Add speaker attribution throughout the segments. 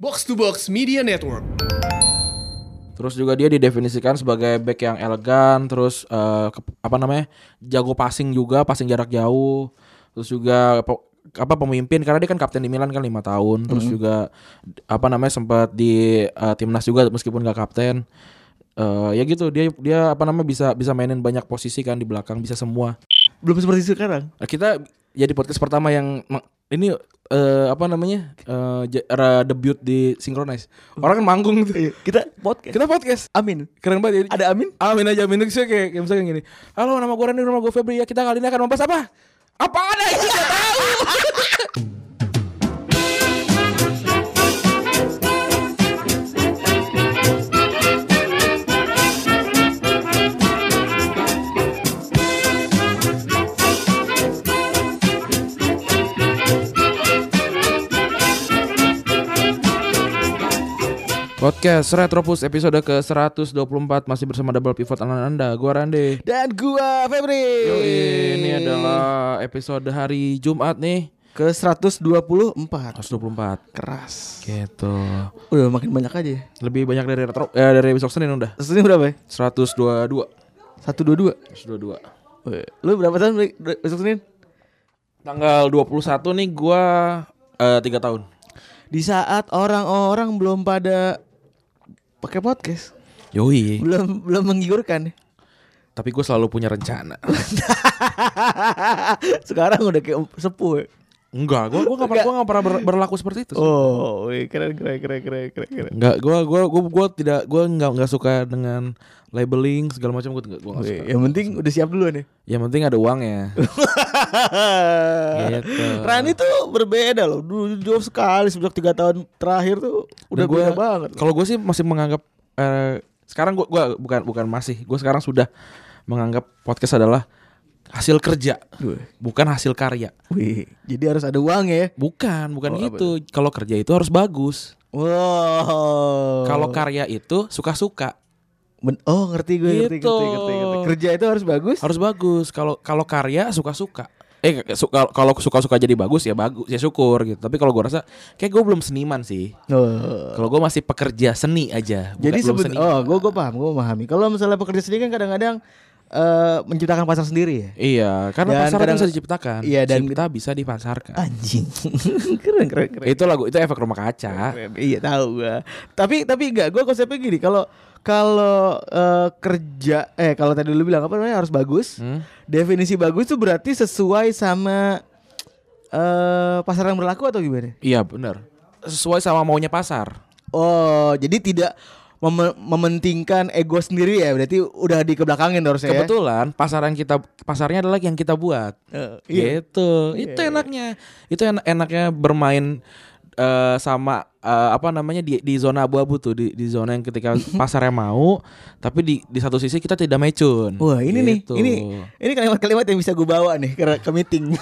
Speaker 1: Box to Box Media Network.
Speaker 2: Terus juga dia didefinisikan sebagai back yang elegan, terus eh, ke- apa namanya? jago passing juga, passing jarak jauh. Terus juga pe- apa pemimpin karena dia kan kapten di Milan kan lima tahun, terus
Speaker 3: Mm-hmm.
Speaker 2: juga apa namanya sempat di eh, timnas juga meskipun gak kapten. Eh, ya gitu, dia dia apa namanya bisa bisa mainin banyak posisi kan di belakang, bisa semua.
Speaker 3: Belum seperti sekarang.
Speaker 2: Nah, kita jadi podcast pertama yang meng- ini eh, apa namanya? eh, ja- era debut di Synchronize. Orang kan manggung tuh.
Speaker 3: Iya, Kita podcast.
Speaker 2: Kita podcast.
Speaker 3: Amin.
Speaker 2: Keren banget ya.
Speaker 3: Ada Amin?
Speaker 2: Amin aja Amin itu kayak, kayak misalnya gini Halo nama gue Randy nama gue Febri ya Kita kali ini akan membahas apa? Apa ada itu gak tahu. Podcast Retropus episode ke-124 Masih bersama Double Pivot Anak Anda Gue Randy
Speaker 3: Dan gua Febri.
Speaker 2: Ini adalah episode hari Jumat nih
Speaker 3: ke 124.
Speaker 2: 124
Speaker 3: Keras.
Speaker 2: Gitu
Speaker 3: Udah makin banyak aja ya.
Speaker 2: Lebih banyak dari retro eh, Dari besok Senin udah
Speaker 3: Terus ini berapa ya?
Speaker 2: 122
Speaker 3: 122.
Speaker 2: 122
Speaker 3: Weh, Lu berapa tahun Bri? besok Senin?
Speaker 2: Tanggal 21 nih gue eh 3 tahun
Speaker 3: Di saat orang-orang belum pada pakai podcast,
Speaker 2: Yoi
Speaker 3: belum belum menggigurkan.
Speaker 2: Tapi gue selalu punya rencana.
Speaker 3: Sekarang udah kayak sepuh. ya.
Speaker 2: Enggak, gue gua gak pernah gua gak pernah ber- berlaku seperti itu. sih.
Speaker 3: Oh, weh, keren keren keren keren keren. keren.
Speaker 2: Enggak, gue gua gua gua tidak gua enggak enggak suka dengan labeling segala macam gue enggak gua enggak
Speaker 3: Weh,
Speaker 2: suka.
Speaker 3: Iya, yang penting udah siap ya. dulu nih.
Speaker 2: Yang penting ada ya. uangnya. Gitu.
Speaker 3: Rani tuh berbeda loh. Dulu jauh sekali sejak tiga tahun terakhir tuh udah
Speaker 2: Dan gua-
Speaker 3: beda banget.
Speaker 2: Kalau gue sih masih menganggap eh, sekarang gue gua bukan bukan masih, gue sekarang sudah menganggap podcast adalah hasil kerja, bukan hasil karya.
Speaker 3: Wih, jadi harus ada uang ya.
Speaker 2: Bukan, bukan gitu. Kalau kerja itu harus bagus.
Speaker 3: Wow.
Speaker 2: Kalau karya itu suka-suka.
Speaker 3: Ben- oh ngerti gue ngerti,
Speaker 2: Gitu.
Speaker 3: ngerti, ngerti, ngerti. Kerja itu harus bagus.
Speaker 2: harus bagus kalau kalau karya suka suka eh su- kalau- kalau suka suka jadi bagus ya bagus ya syukur gitu tapi kalau gue rasa kayak gue belum seniman sih
Speaker 3: Oh.
Speaker 2: kalau gue masih pekerja seni aja bukan-
Speaker 3: Jadi
Speaker 2: belum
Speaker 3: sebut
Speaker 2: seniman.
Speaker 3: oh gue gue paham gue memahami. Kalau misalnya pekerja sendiri kan kadang-kadang eh, menciptakan pasar sendiri ya.
Speaker 2: iya karena
Speaker 3: Dan
Speaker 2: pasar
Speaker 3: kadang-
Speaker 2: bisa diciptakan
Speaker 3: Iya, dan-
Speaker 2: cipta bisa dipasarkan
Speaker 3: Anjing. keren keren keren.
Speaker 2: itu lagu itu efek rumah kaca
Speaker 3: Keren. Iya tahu gue. Tapi tapi enggak gue konsepnya gini kalau kalau eh, kerja eh kalau tadi lu bilang apa namanya harus bagus.
Speaker 2: Hmm?
Speaker 3: Definisi bagus itu berarti sesuai sama eh pasar yang berlaku atau gimana?
Speaker 2: iya benar sesuai sama maunya pasar
Speaker 3: Oh, jadi tidak mem- mementingkan ego sendiri ya. Berarti udah dikebelakangin harusnya ya.
Speaker 2: kebetulan pasar yang kita pasarnya adalah yang kita buat
Speaker 3: Eh, iya.
Speaker 2: gitu itu enaknya itu enak enaknya bermain eh, sama eh, apa namanya di di zona abu-abu tuh di di zona yang ketika pasarnya mau tapi di di satu sisi kita tidak mecun
Speaker 3: Wah, ini nih.
Speaker 2: Gitu.
Speaker 3: Ini ini kalimat-kalimat yang bisa gue bawa nih ke, ke meeting.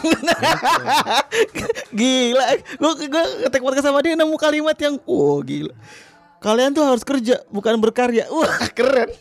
Speaker 3: gila. Gue gue ketek podcast sama dia nemu kalimat yang wow, gila. Kalian tuh harus kerja, bukan berkarya. Wah, keren.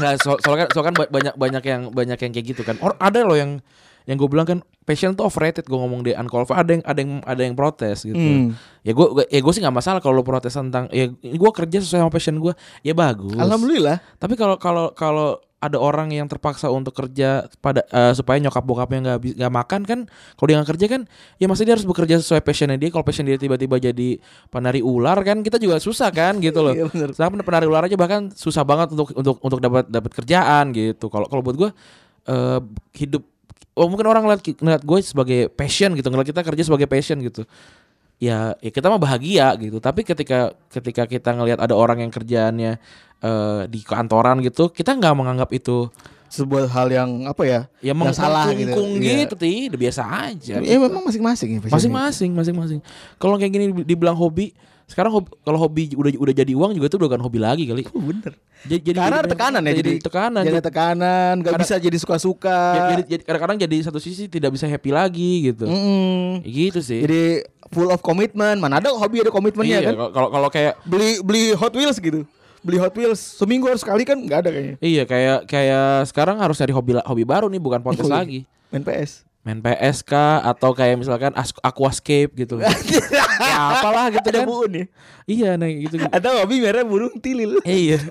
Speaker 2: nggak so, soalnya kan, soalnya kan ba- banyak banyak yang banyak yang kayak gitu kan Or, ada loh yang yang gue bilang kan passion tuh overrated gue ngomong di unqualified ada yang ada yang ada yang protes gitu
Speaker 3: Hmm.
Speaker 2: ya gue ya gue sih nggak masalah kalau lo protes tentang ya gue kerja sesuai sama passion gue ya bagus
Speaker 3: Alhamdulillah.
Speaker 2: Tapi kalau kalau kalau ada orang yang terpaksa untuk kerja pada eh, supaya nyokap bokapnya nggak habis- nggak makan kan kalau dia nggak kerja kan ya masa dia harus bekerja sesuai passionnya dia kalau passion dia tiba-tiba jadi penari ular kan kita juga susah kan gitu loh
Speaker 3: Iya, bener.
Speaker 2: Sedangkan penari ular aja bahkan susah banget untuk untuk untuk dapat dapat kerjaan gitu kalau kalau buat gue eh, hidup oh mungkin orang ngeliat ki- ngeliat gue sebagai passion gitu ngeliat kita kerja sebagai passion gitu ya, ya kita mah bahagia gitu tapi ketika ketika kita ngelihat ada orang yang kerjaannya eh, di kantoran gitu kita nggak menganggap itu
Speaker 3: Sebuah hal yang apa ya?
Speaker 2: ya
Speaker 3: yang salah gitu.
Speaker 2: mengkungkung
Speaker 3: Iya.
Speaker 2: gitu, Ti. Udah biasa aja
Speaker 3: Ya memang masing-masing ya. passionnya.
Speaker 2: masing-masing masing-masing kalau kayak gini dibilang hobi sekarang hobi- kalau hobi udah udah jadi uang juga itu bukan hobi lagi kali
Speaker 3: Oh, Bener.
Speaker 2: jadi, jadi-
Speaker 3: Karena ada
Speaker 2: jadi-
Speaker 3: tekanan ya, jadi
Speaker 2: tekanan
Speaker 3: Jadi ada tekanan, nggak
Speaker 2: Kadang-
Speaker 3: bisa jadi suka-suka.
Speaker 2: Ya, jadi, jadi kadang-kadang jadi satu sisi tidak bisa happy lagi gitu.
Speaker 3: Mm-mm.
Speaker 2: Ya Gitu sih.
Speaker 3: Hmm. Jadi full of komitmen. Mana ada hobi ada komitmennya
Speaker 2: iya,
Speaker 3: kan?
Speaker 2: kalau- kalau kalau kayak
Speaker 3: Beli beli Hot Wheels gitu. Beli Hot Wheels seminggu harus sekali kan nggak ada kayaknya.
Speaker 2: iya kayak kayak sekarang harus cari hobi la- hobi baru nih bukan podcast
Speaker 3: Iya.
Speaker 2: lagi.
Speaker 3: Main PS.
Speaker 2: main PS kah atau kayak misalkan As- aquascape gitu ya apalah gitu kan
Speaker 3: Ada buun ya.
Speaker 2: iya nah gitu, gitu.
Speaker 3: Atau hobi merah burung tilil.
Speaker 2: Eh, iya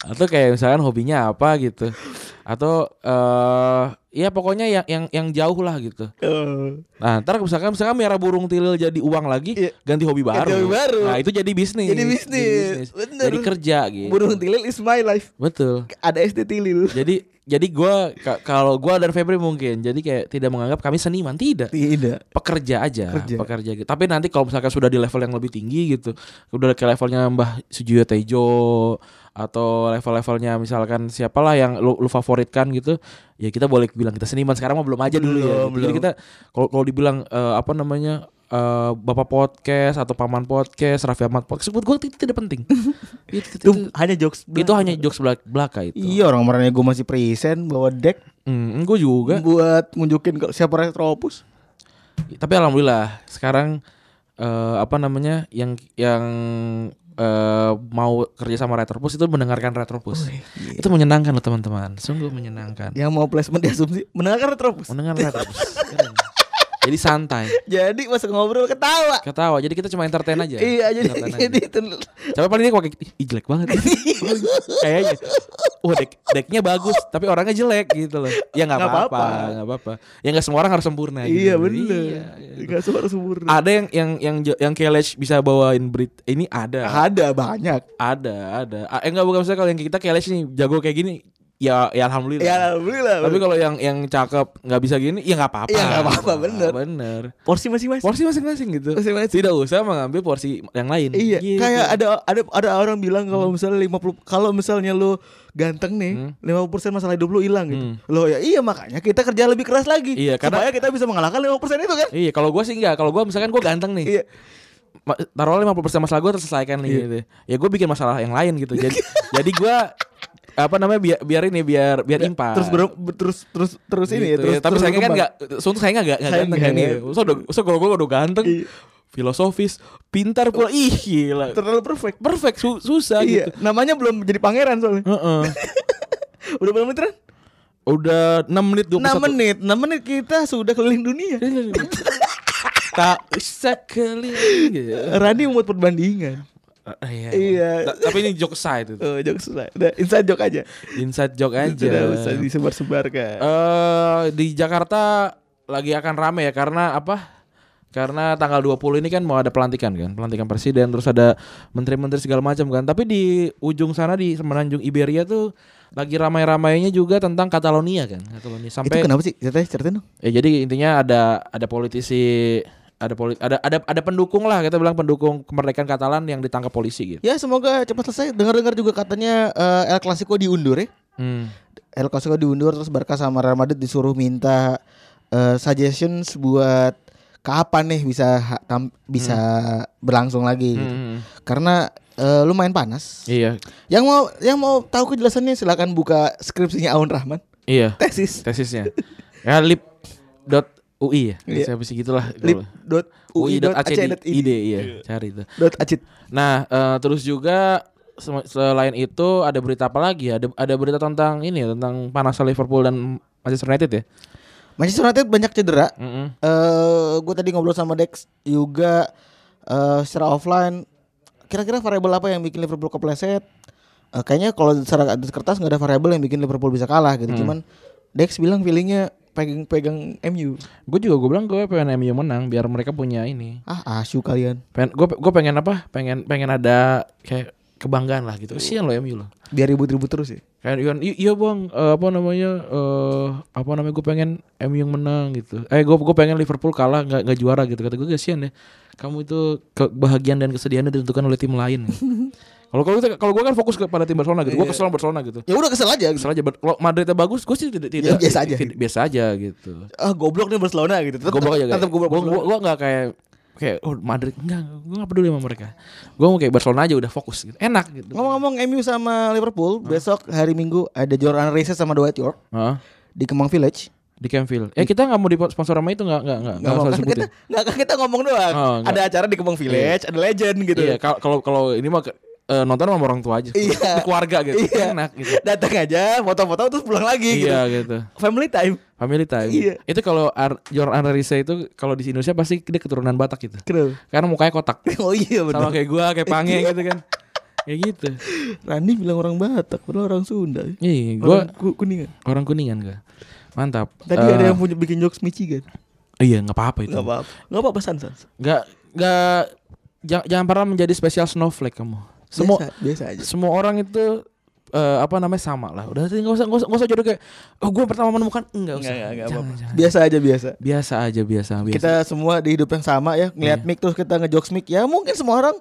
Speaker 2: atau kayak misalkan hobinya apa gitu atau eh ya pokoknya yang yang yang jauh lah gitu
Speaker 3: Oh.
Speaker 2: nah ntar misalkan misalkan merah burung tilil jadi uang lagi
Speaker 3: Iya.
Speaker 2: ganti hobi baru
Speaker 3: hobi baru.
Speaker 2: nah itu jadi bisnis
Speaker 3: Jadi bisnis. Bener.
Speaker 2: jadi kerja gitu
Speaker 3: Burung tilil is my life.
Speaker 2: betul
Speaker 3: Ada SD tilil.
Speaker 2: jadi jadi gua ka- kalau gua dan Febri mungkin jadi kayak tidak menganggap kami seniman tidak
Speaker 3: Tidak.
Speaker 2: pekerja aja
Speaker 3: Kerja.
Speaker 2: pekerja gitu tapi nanti kalau misalkan sudah di level yang lebih tinggi gitu udah ke levelnya Mbah Sujiyo Tejo atau level-levelnya misalkan siapalah yang lu, lu favoritkan gitu ya kita boleh bilang kita seniman sekarang mah belum aja dulu ya gitu.
Speaker 3: Belum,
Speaker 2: jadi
Speaker 3: belum.
Speaker 2: kita kalau kalau dibilang eh, apa namanya eh, bapak podcast atau paman podcast Raffi Ahmad podcast buat gue itu tidak penting itu, itu,
Speaker 3: Itu
Speaker 2: itu-
Speaker 3: hanya jokes.
Speaker 2: itu hanya jokes belak- belaka itu
Speaker 3: Iya orang merahnya gue masih present bawa deck
Speaker 2: Hmm, gue juga
Speaker 3: Eh. buat ngunjukin kalau siapa retropus.
Speaker 2: tapi alhamdulillah sekarang eh, apa namanya yang yang eh, mau kerja sama Retropus itu mendengarkan Retropus
Speaker 3: Oh, iya.
Speaker 2: itu menyenangkan loh teman-teman sungguh menyenangkan
Speaker 3: Yang mau placement di asumsi mendengarkan retropus.
Speaker 2: mendengar Retropus Keren. jadi santai
Speaker 3: Jadi masuk ngobrol ketawa.
Speaker 2: ketawa jadi kita cuma entertain aja
Speaker 3: Iya jadi
Speaker 2: Entertain aja.
Speaker 3: jadi itu.
Speaker 2: Coba paling dia pakai ih jelek banget. Kayaknya. Wah, deck decknya bagus, tapi orangnya jelek gitu loh. Ya nggak
Speaker 3: Nggak
Speaker 2: apa-apa,
Speaker 3: apa-apa.
Speaker 2: nggak apa-apa. Ya nggak semua orang harus sempurna.
Speaker 3: Iya
Speaker 2: gitu.
Speaker 3: bener.
Speaker 2: Iya, iya.
Speaker 3: Gak suara subur.
Speaker 2: Ada yang yang yang jo- yang Kelech bisa bawain berit eh, ini ada.
Speaker 3: Ada banyak.
Speaker 2: Ada, ada. A- Eh enggak bukan misalnya kalau yang kita Kelech nih jago kayak gini, ya ya alhamdulillah.
Speaker 3: Ya alhamdulillah.
Speaker 2: tapi kalau yang yang cakep nggak bisa gini, ya nggak apa-apa. Ah,
Speaker 3: Iya, nggak apa-apa, bener.
Speaker 2: Bener.
Speaker 3: porsi masing-masing.
Speaker 2: Porsi masing-masing gitu.
Speaker 3: Masing-masing.
Speaker 2: Tidak usah mengambil porsi yang lain.
Speaker 3: Iya,
Speaker 2: Gitu.
Speaker 3: kayak ada ada ada orang bilang
Speaker 2: Hmm.
Speaker 3: kalau misalnya 50 kalau misalnya lu ganteng nih, 50% masalah hidup lu hilang gitu. Loh ya iya makanya kita kerja lebih keras lagi.
Speaker 2: Hmm. Iya, karena-
Speaker 3: supaya kita bisa mengalahkan 50% itu kan.
Speaker 2: Iya, kalau gue sih enggak. Kalau gue misalkan gue ganteng nih.
Speaker 3: Iya.
Speaker 2: Ma- Taruhlah 50% masalah gue terselesaikan nih gitu. Ya gue bikin masalah yang lain gitu. Jadi jadi gue apa namanya biar biar ini biar biar impas.
Speaker 3: Terus ber, ber- terus terus terus
Speaker 2: Gitu
Speaker 3: ini ya, terus
Speaker 2: ya. tapi
Speaker 3: terus
Speaker 2: saya kan
Speaker 3: berkembang.
Speaker 2: enggak suntuk saya enggak enggak
Speaker 3: Saya
Speaker 2: ganteng
Speaker 3: nggak
Speaker 2: kan ya.
Speaker 3: nih.
Speaker 2: So, udah- so kalau gue udah ganteng,
Speaker 3: Iya.
Speaker 2: filosofis, pintar pula. Ih, gila.
Speaker 3: terlalu perfect.
Speaker 2: Perfect su- susah
Speaker 3: Iya,
Speaker 2: gitu.
Speaker 3: namanya belum jadi pangeran soalnya.
Speaker 2: Heeh.
Speaker 3: Udah berapa menit? Ran?
Speaker 2: Udah 6 menit
Speaker 3: 6
Speaker 2: 21
Speaker 3: menit. 6 menit kita sudah keliling dunia.
Speaker 2: Iya, Tak usah keliling gitu.
Speaker 3: Rani membuat perbandingan.
Speaker 2: Ah, Iya.
Speaker 3: Iya.
Speaker 2: Ta- Tapi ini joke side itu.
Speaker 3: Oh, jokes lah. Udah, inside joke aja.
Speaker 2: Inside joke aja.
Speaker 3: Sudah usah disebar-sebarkan.
Speaker 2: eh di Jakarta lagi akan rame ya karena apa? Karena tanggal 20 ini kan mau ada pelantikan kan, pelantikan presiden terus ada menteri-menteri segala macam kan. Tapi di ujung sana di semenanjung Iberia tuh lagi ramai-ramainya juga tentang Catalonia kan. Catalonia sampai
Speaker 3: Itu kenapa sih? Ceritain, ceritain dong.
Speaker 2: ya jadi intinya ada ada politisi ada poli, ada ada ada pendukung lah kita bilang pendukung kemerdekaan Katalan yang ditangkap polisi gitu.
Speaker 3: Ya semoga cepat selesai. Dengar-dengar juga katanya eh, El Clasico diundur ya.
Speaker 2: Hmm.
Speaker 3: El Clasico diundur terus Barca sama Real Madrid disuruh minta eh, suggestions buat kapan nih bisa ha- tam- bisa berlangsung lagi. gitu.
Speaker 2: Hmm.
Speaker 3: Karena eh, lumayan panas.
Speaker 2: Iya.
Speaker 3: Yang mau yang mau tahu kejelasannya silakan buka skripsinya Aun Rahman.
Speaker 2: Iya.
Speaker 3: Tesis
Speaker 2: Tesisnya. ya lip.ui ya.
Speaker 3: Iya.
Speaker 2: Siapa sih gitulah.
Speaker 3: lip.ui.ac.id.
Speaker 2: ide iya cari itu
Speaker 3: Dot acid.
Speaker 2: nah eh, terus juga sem- selain itu ada berita apa lagi ya? ada ada berita tentang ini ya tentang panasnya Liverpool dan Manchester United ya
Speaker 3: Manchester United banyak cedera.
Speaker 2: Mm-mm.
Speaker 3: eh gue tadi ngobrol sama Dex juga eh secara offline. Kira-kira variabel apa yang bikin Liverpool kepleset? Eh, kayaknya kalau secara di kertas nggak ada variabel yang bikin Liverpool bisa kalah gitu. Cuman Dex bilang feelingnya pegang-pegang MU.
Speaker 2: gue juga gue bilang gue pengen MU menang biar mereka punya ini
Speaker 3: Ah asu kalian.
Speaker 2: pengen gue gue pengen apa pengen pengen ada kayak kebanggaan lah gitu kesian loh MU loh
Speaker 3: Biar ribut-ribut terus ya.
Speaker 2: Kayak Iwan, "I- iya bang, eh, apa namanya, eh, apa namanya gue pengen MU yang menang gitu. Eh gue gue pengen Liverpool kalah nggak nggak juara gitu. Kata gue kasihan ya. Kamu itu kebahagiaan dan kesedihannya ditentukan oleh tim lain. Kalau kalau kita- kalau gue kan fokus kepada tim Barcelona gitu. Gue kesel sama Barcelona gitu.
Speaker 3: Ya udah kesel aja.
Speaker 2: Kesel aja. Bar- Kalau Madridnya bagus, gue sih tidak tidak
Speaker 3: Ya, biasa aja.
Speaker 2: tidak- biasa aja gitu.
Speaker 3: Ah goblok nih Barcelona gitu. Tetep-
Speaker 2: Goblok aja kayak.
Speaker 3: tetep
Speaker 2: Gue
Speaker 3: goblok.
Speaker 2: gue gue nggak kayak kayak oh Madrid enggak gue nggak peduli sama mereka gue mau kayak Barcelona aja udah fokus gitu enak gitu
Speaker 3: Ngomong-ngomong MU sama Liverpool, besok hari Minggu ada Jordan Reyes sama Dwight York
Speaker 2: Heeh.
Speaker 3: di Kemang Village.
Speaker 2: di Campfield eh kita nggak mau di sponsor sama itu nggak nggak nggak nggak
Speaker 3: Iya. Nggak mau
Speaker 2: usah
Speaker 3: kan
Speaker 2: sebutin
Speaker 3: kita, nggak kan kita ngomong doang.
Speaker 2: Oh, nggak.
Speaker 3: ada acara di Kemang Village, ada legend gitu.
Speaker 2: Iya, kalau kalau kalau ini mah ke- eh, nonton sama orang tua aja.
Speaker 3: Iya.
Speaker 2: Keluarga gitu.
Speaker 3: Iya.
Speaker 2: Enak gitu.
Speaker 3: Datang aja, foto-foto terus pulang lagi
Speaker 2: Iya gitu.
Speaker 3: gitu. Family time.
Speaker 2: Family time.
Speaker 3: Iya.
Speaker 2: Itu kalau Ar Jordan Arisa itu kalau di Indonesia pasti dia keturunan Batak gitu.
Speaker 3: Kenapa?
Speaker 2: Karena mukanya kotak.
Speaker 3: Oh iya
Speaker 2: Sama
Speaker 3: benar.
Speaker 2: kayak gua, kayak Pange gitu kan. Kayak gitu.
Speaker 3: Rani bilang orang Batak, padahal orang Sunda.
Speaker 2: Iya, gua
Speaker 3: Orang Ku- kuningan.
Speaker 2: orang kuningan gua. Mantap.
Speaker 3: Tadi
Speaker 2: Eh,
Speaker 3: ada yang punya bikin jokes Michigan.
Speaker 2: Iya, nggak apa-apa itu.
Speaker 3: Enggak apa-apa. Enggak apa-apa san, san.
Speaker 2: Nggak nggak jangan, jangan pernah menjadi spesial snowflake kamu. Semua
Speaker 3: biasa, biasa aja.
Speaker 2: semua orang itu eh, apa namanya sama lah. Udah nggak usah nggak usah, nggak usah jadi kayak oh gue pertama menemukan enggak usah.
Speaker 3: Enggak, enggak, enggak
Speaker 2: Jangan,
Speaker 3: apa-apa.
Speaker 2: jangan.
Speaker 3: Biasa aja biasa.
Speaker 2: Biasa aja biasa biasa.
Speaker 3: Kita semua di hidup yang sama ya, ngelihat
Speaker 2: Iya.
Speaker 3: mic terus kita ngejokes mic. Ya mungkin semua orang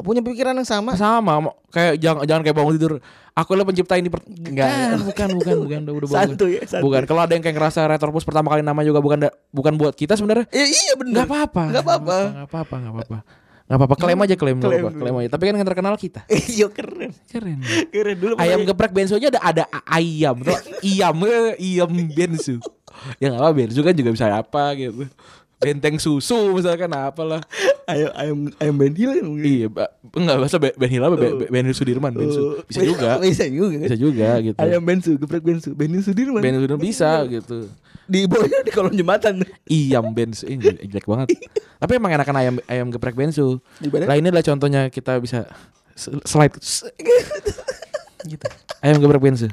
Speaker 3: punya pikiran yang sama.
Speaker 2: sama mo- kayak jangan jangan kayak bangun tidur. Aku lah pencipta ini per... Eh,
Speaker 3: Enggak.
Speaker 2: bukan bukan bukan udah udah bangun.
Speaker 3: Santuy ya, santuy.
Speaker 2: Bukan kalau ada yang kayak ngerasa retropus pertama kali nama juga bukan da- bukan buat kita sebenarnya
Speaker 3: Eh, iya bener.
Speaker 2: nggak apa-apa.
Speaker 3: Nggak apa-apa.
Speaker 2: Nggak apa-apa nggak apa-apa. Nggak apa-apa klaim aja klaim nggak
Speaker 3: Klaim
Speaker 2: apa-apa,
Speaker 3: dulu.
Speaker 2: klaim aja. Tapi kan yang terkenal kita.
Speaker 3: Iya keren.
Speaker 2: Keren.
Speaker 3: Keren dulu.
Speaker 2: Ayam
Speaker 3: pokoknya.
Speaker 2: geprek bensu aja ada ada a- ayam tuh ayam ayam eh, bensu. Ya nggak apa bensu kan juga bisa apa gitu. Benteng susu misalkan apalah.
Speaker 3: ayam ayam ayam Benhil kan mungkin.
Speaker 2: Iya, ba- enggak bahasa Ben Ben Hila, Ben, Ben- Ben Sudirman, Ben Su. Bisa juga.
Speaker 3: Bisa juga. kan?
Speaker 2: Bisa juga gitu.
Speaker 3: Ayam Bensu, geprek Bensu, Bensu Sudirman.
Speaker 2: Ben Sudirman bisa gitu.
Speaker 3: Di bawahnya di kolong jembatan.
Speaker 2: Iyam Bensu ini jelek jelek banget. Tapi emang enakan ayam ayam geprek Bensu.
Speaker 3: Gimana?
Speaker 2: Lah ini adalah contohnya kita bisa s- slide S- gitu. Ayam geprek Bensu.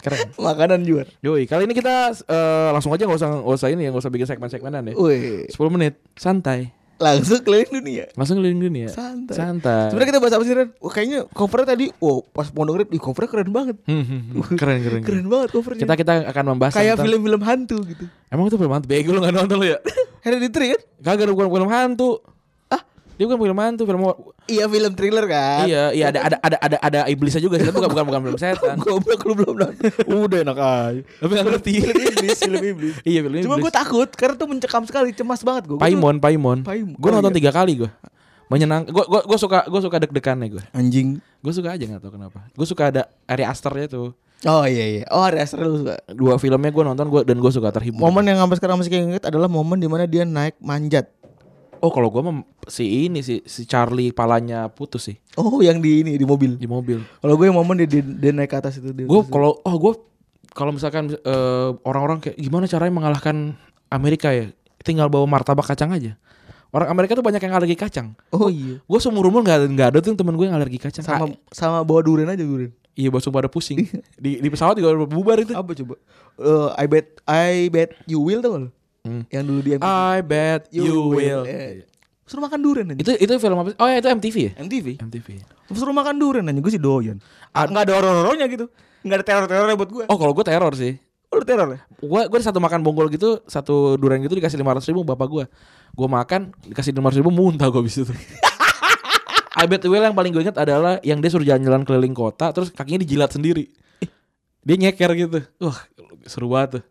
Speaker 2: Keren.
Speaker 3: Makanan juara.
Speaker 2: Yoi, kali ini kita eh, langsung aja nggak usah nggak usah ini ya, nggak usah bikin segmen-segmenan ya.
Speaker 3: Wih,
Speaker 2: 10 menit, santai.
Speaker 3: langsung keliling dunia.
Speaker 2: Langsung keliling dunia.
Speaker 3: Santai.
Speaker 2: Santai.
Speaker 3: Sebenarnya kita bahas apa sih Ren? Wah, kayaknya covernya tadi, wow pas mau dengerin, ih covernya keren banget.
Speaker 2: Hmm, hmm, hmm. keren, keren, keren.
Speaker 3: Keren banget covernya.
Speaker 2: Kita kita akan membahas
Speaker 3: kayak
Speaker 2: tentang-
Speaker 3: film-film hantu gitu.
Speaker 2: Emang itu film hantu? Bego lu gak nonton lu ya?
Speaker 3: Hereditary kan?
Speaker 2: Kagak bukan film hantu. Ah, dia bukan film hantu, film
Speaker 3: Iya film thriller kan?
Speaker 2: Iya, iya ada ada ada ada ada iblisnya juga sih, tapi bukan bukan bukan film setan.
Speaker 3: Goblok lu belum nonton. Udah enak aja.
Speaker 2: Tapi gak ngerti.
Speaker 3: Film iblis, film iblis.
Speaker 2: Iya, film
Speaker 3: Cuma
Speaker 2: iblis.
Speaker 3: gue takut karena tuh mencekam sekali, cemas banget gue.
Speaker 2: Paimon, Paimon.
Speaker 3: Paimon.
Speaker 2: Gue
Speaker 3: Oh,
Speaker 2: nonton
Speaker 3: iya.
Speaker 2: tiga kali gue. Menyenang. Gue gue gue suka gue suka deg-degannya gue.
Speaker 3: Anjing.
Speaker 2: Gue suka aja nggak tau kenapa. Gue suka ada Ari Asternya tuh.
Speaker 3: Oh iya iya. Oh Ari Aster lu suka.
Speaker 2: Dua filmnya gue nonton gue dan gue suka terhibur.
Speaker 3: Momen yang sampai sekarang masih keinget adalah momen dimana dia naik manjat.
Speaker 2: Oh kalau gue si ini si si Charlie palanya putus sih
Speaker 3: Oh yang di ini di mobil.
Speaker 2: di mobil.
Speaker 3: Kalau gue yang momen dia, dia, dia naik ke atas itu dia.
Speaker 2: gue kalau oh gue kalau misalkan eh, orang-orang kayak gimana caranya mengalahkan Amerika ya tinggal bawa martabak kacang aja orang Amerika tuh banyak yang alergi kacang
Speaker 3: Oh iya.
Speaker 2: gue seumur umur nggak ada nggak ada tuh yang temen gue yang alergi kacang Ah,
Speaker 3: Sama sama bawa durian aja durian.
Speaker 2: iya langsung pada pusing di di pesawat juga udah bubar itu
Speaker 3: Apa coba? Eh, I bet I bet you will tau gak lo?
Speaker 2: Hmm.
Speaker 3: Yang dulu dia
Speaker 2: I bet you will
Speaker 3: Eh, Suruh makan durian aja.
Speaker 2: itu itu film apa sih? oh ya itu MTV ya
Speaker 3: MTV.
Speaker 2: MTV
Speaker 3: Suruh makan durian aja gue sih doyan. Ah, nggak ada horor-horornya gitu. Nggak ada teror-terornya buat gue.
Speaker 2: oh kalau gue teror sih
Speaker 3: Oh, lu teror ya?
Speaker 2: gue gue satu makan bonggol gitu satu durian gitu dikasih lima ribu bapak gue gue makan dikasih lima ribu muntah gue abis itu I bet you will yang paling gue inget adalah yang dia suruh jalan-jalan keliling kota terus kakinya dijilat sendiri dia nyeker gitu wah seru banget tuh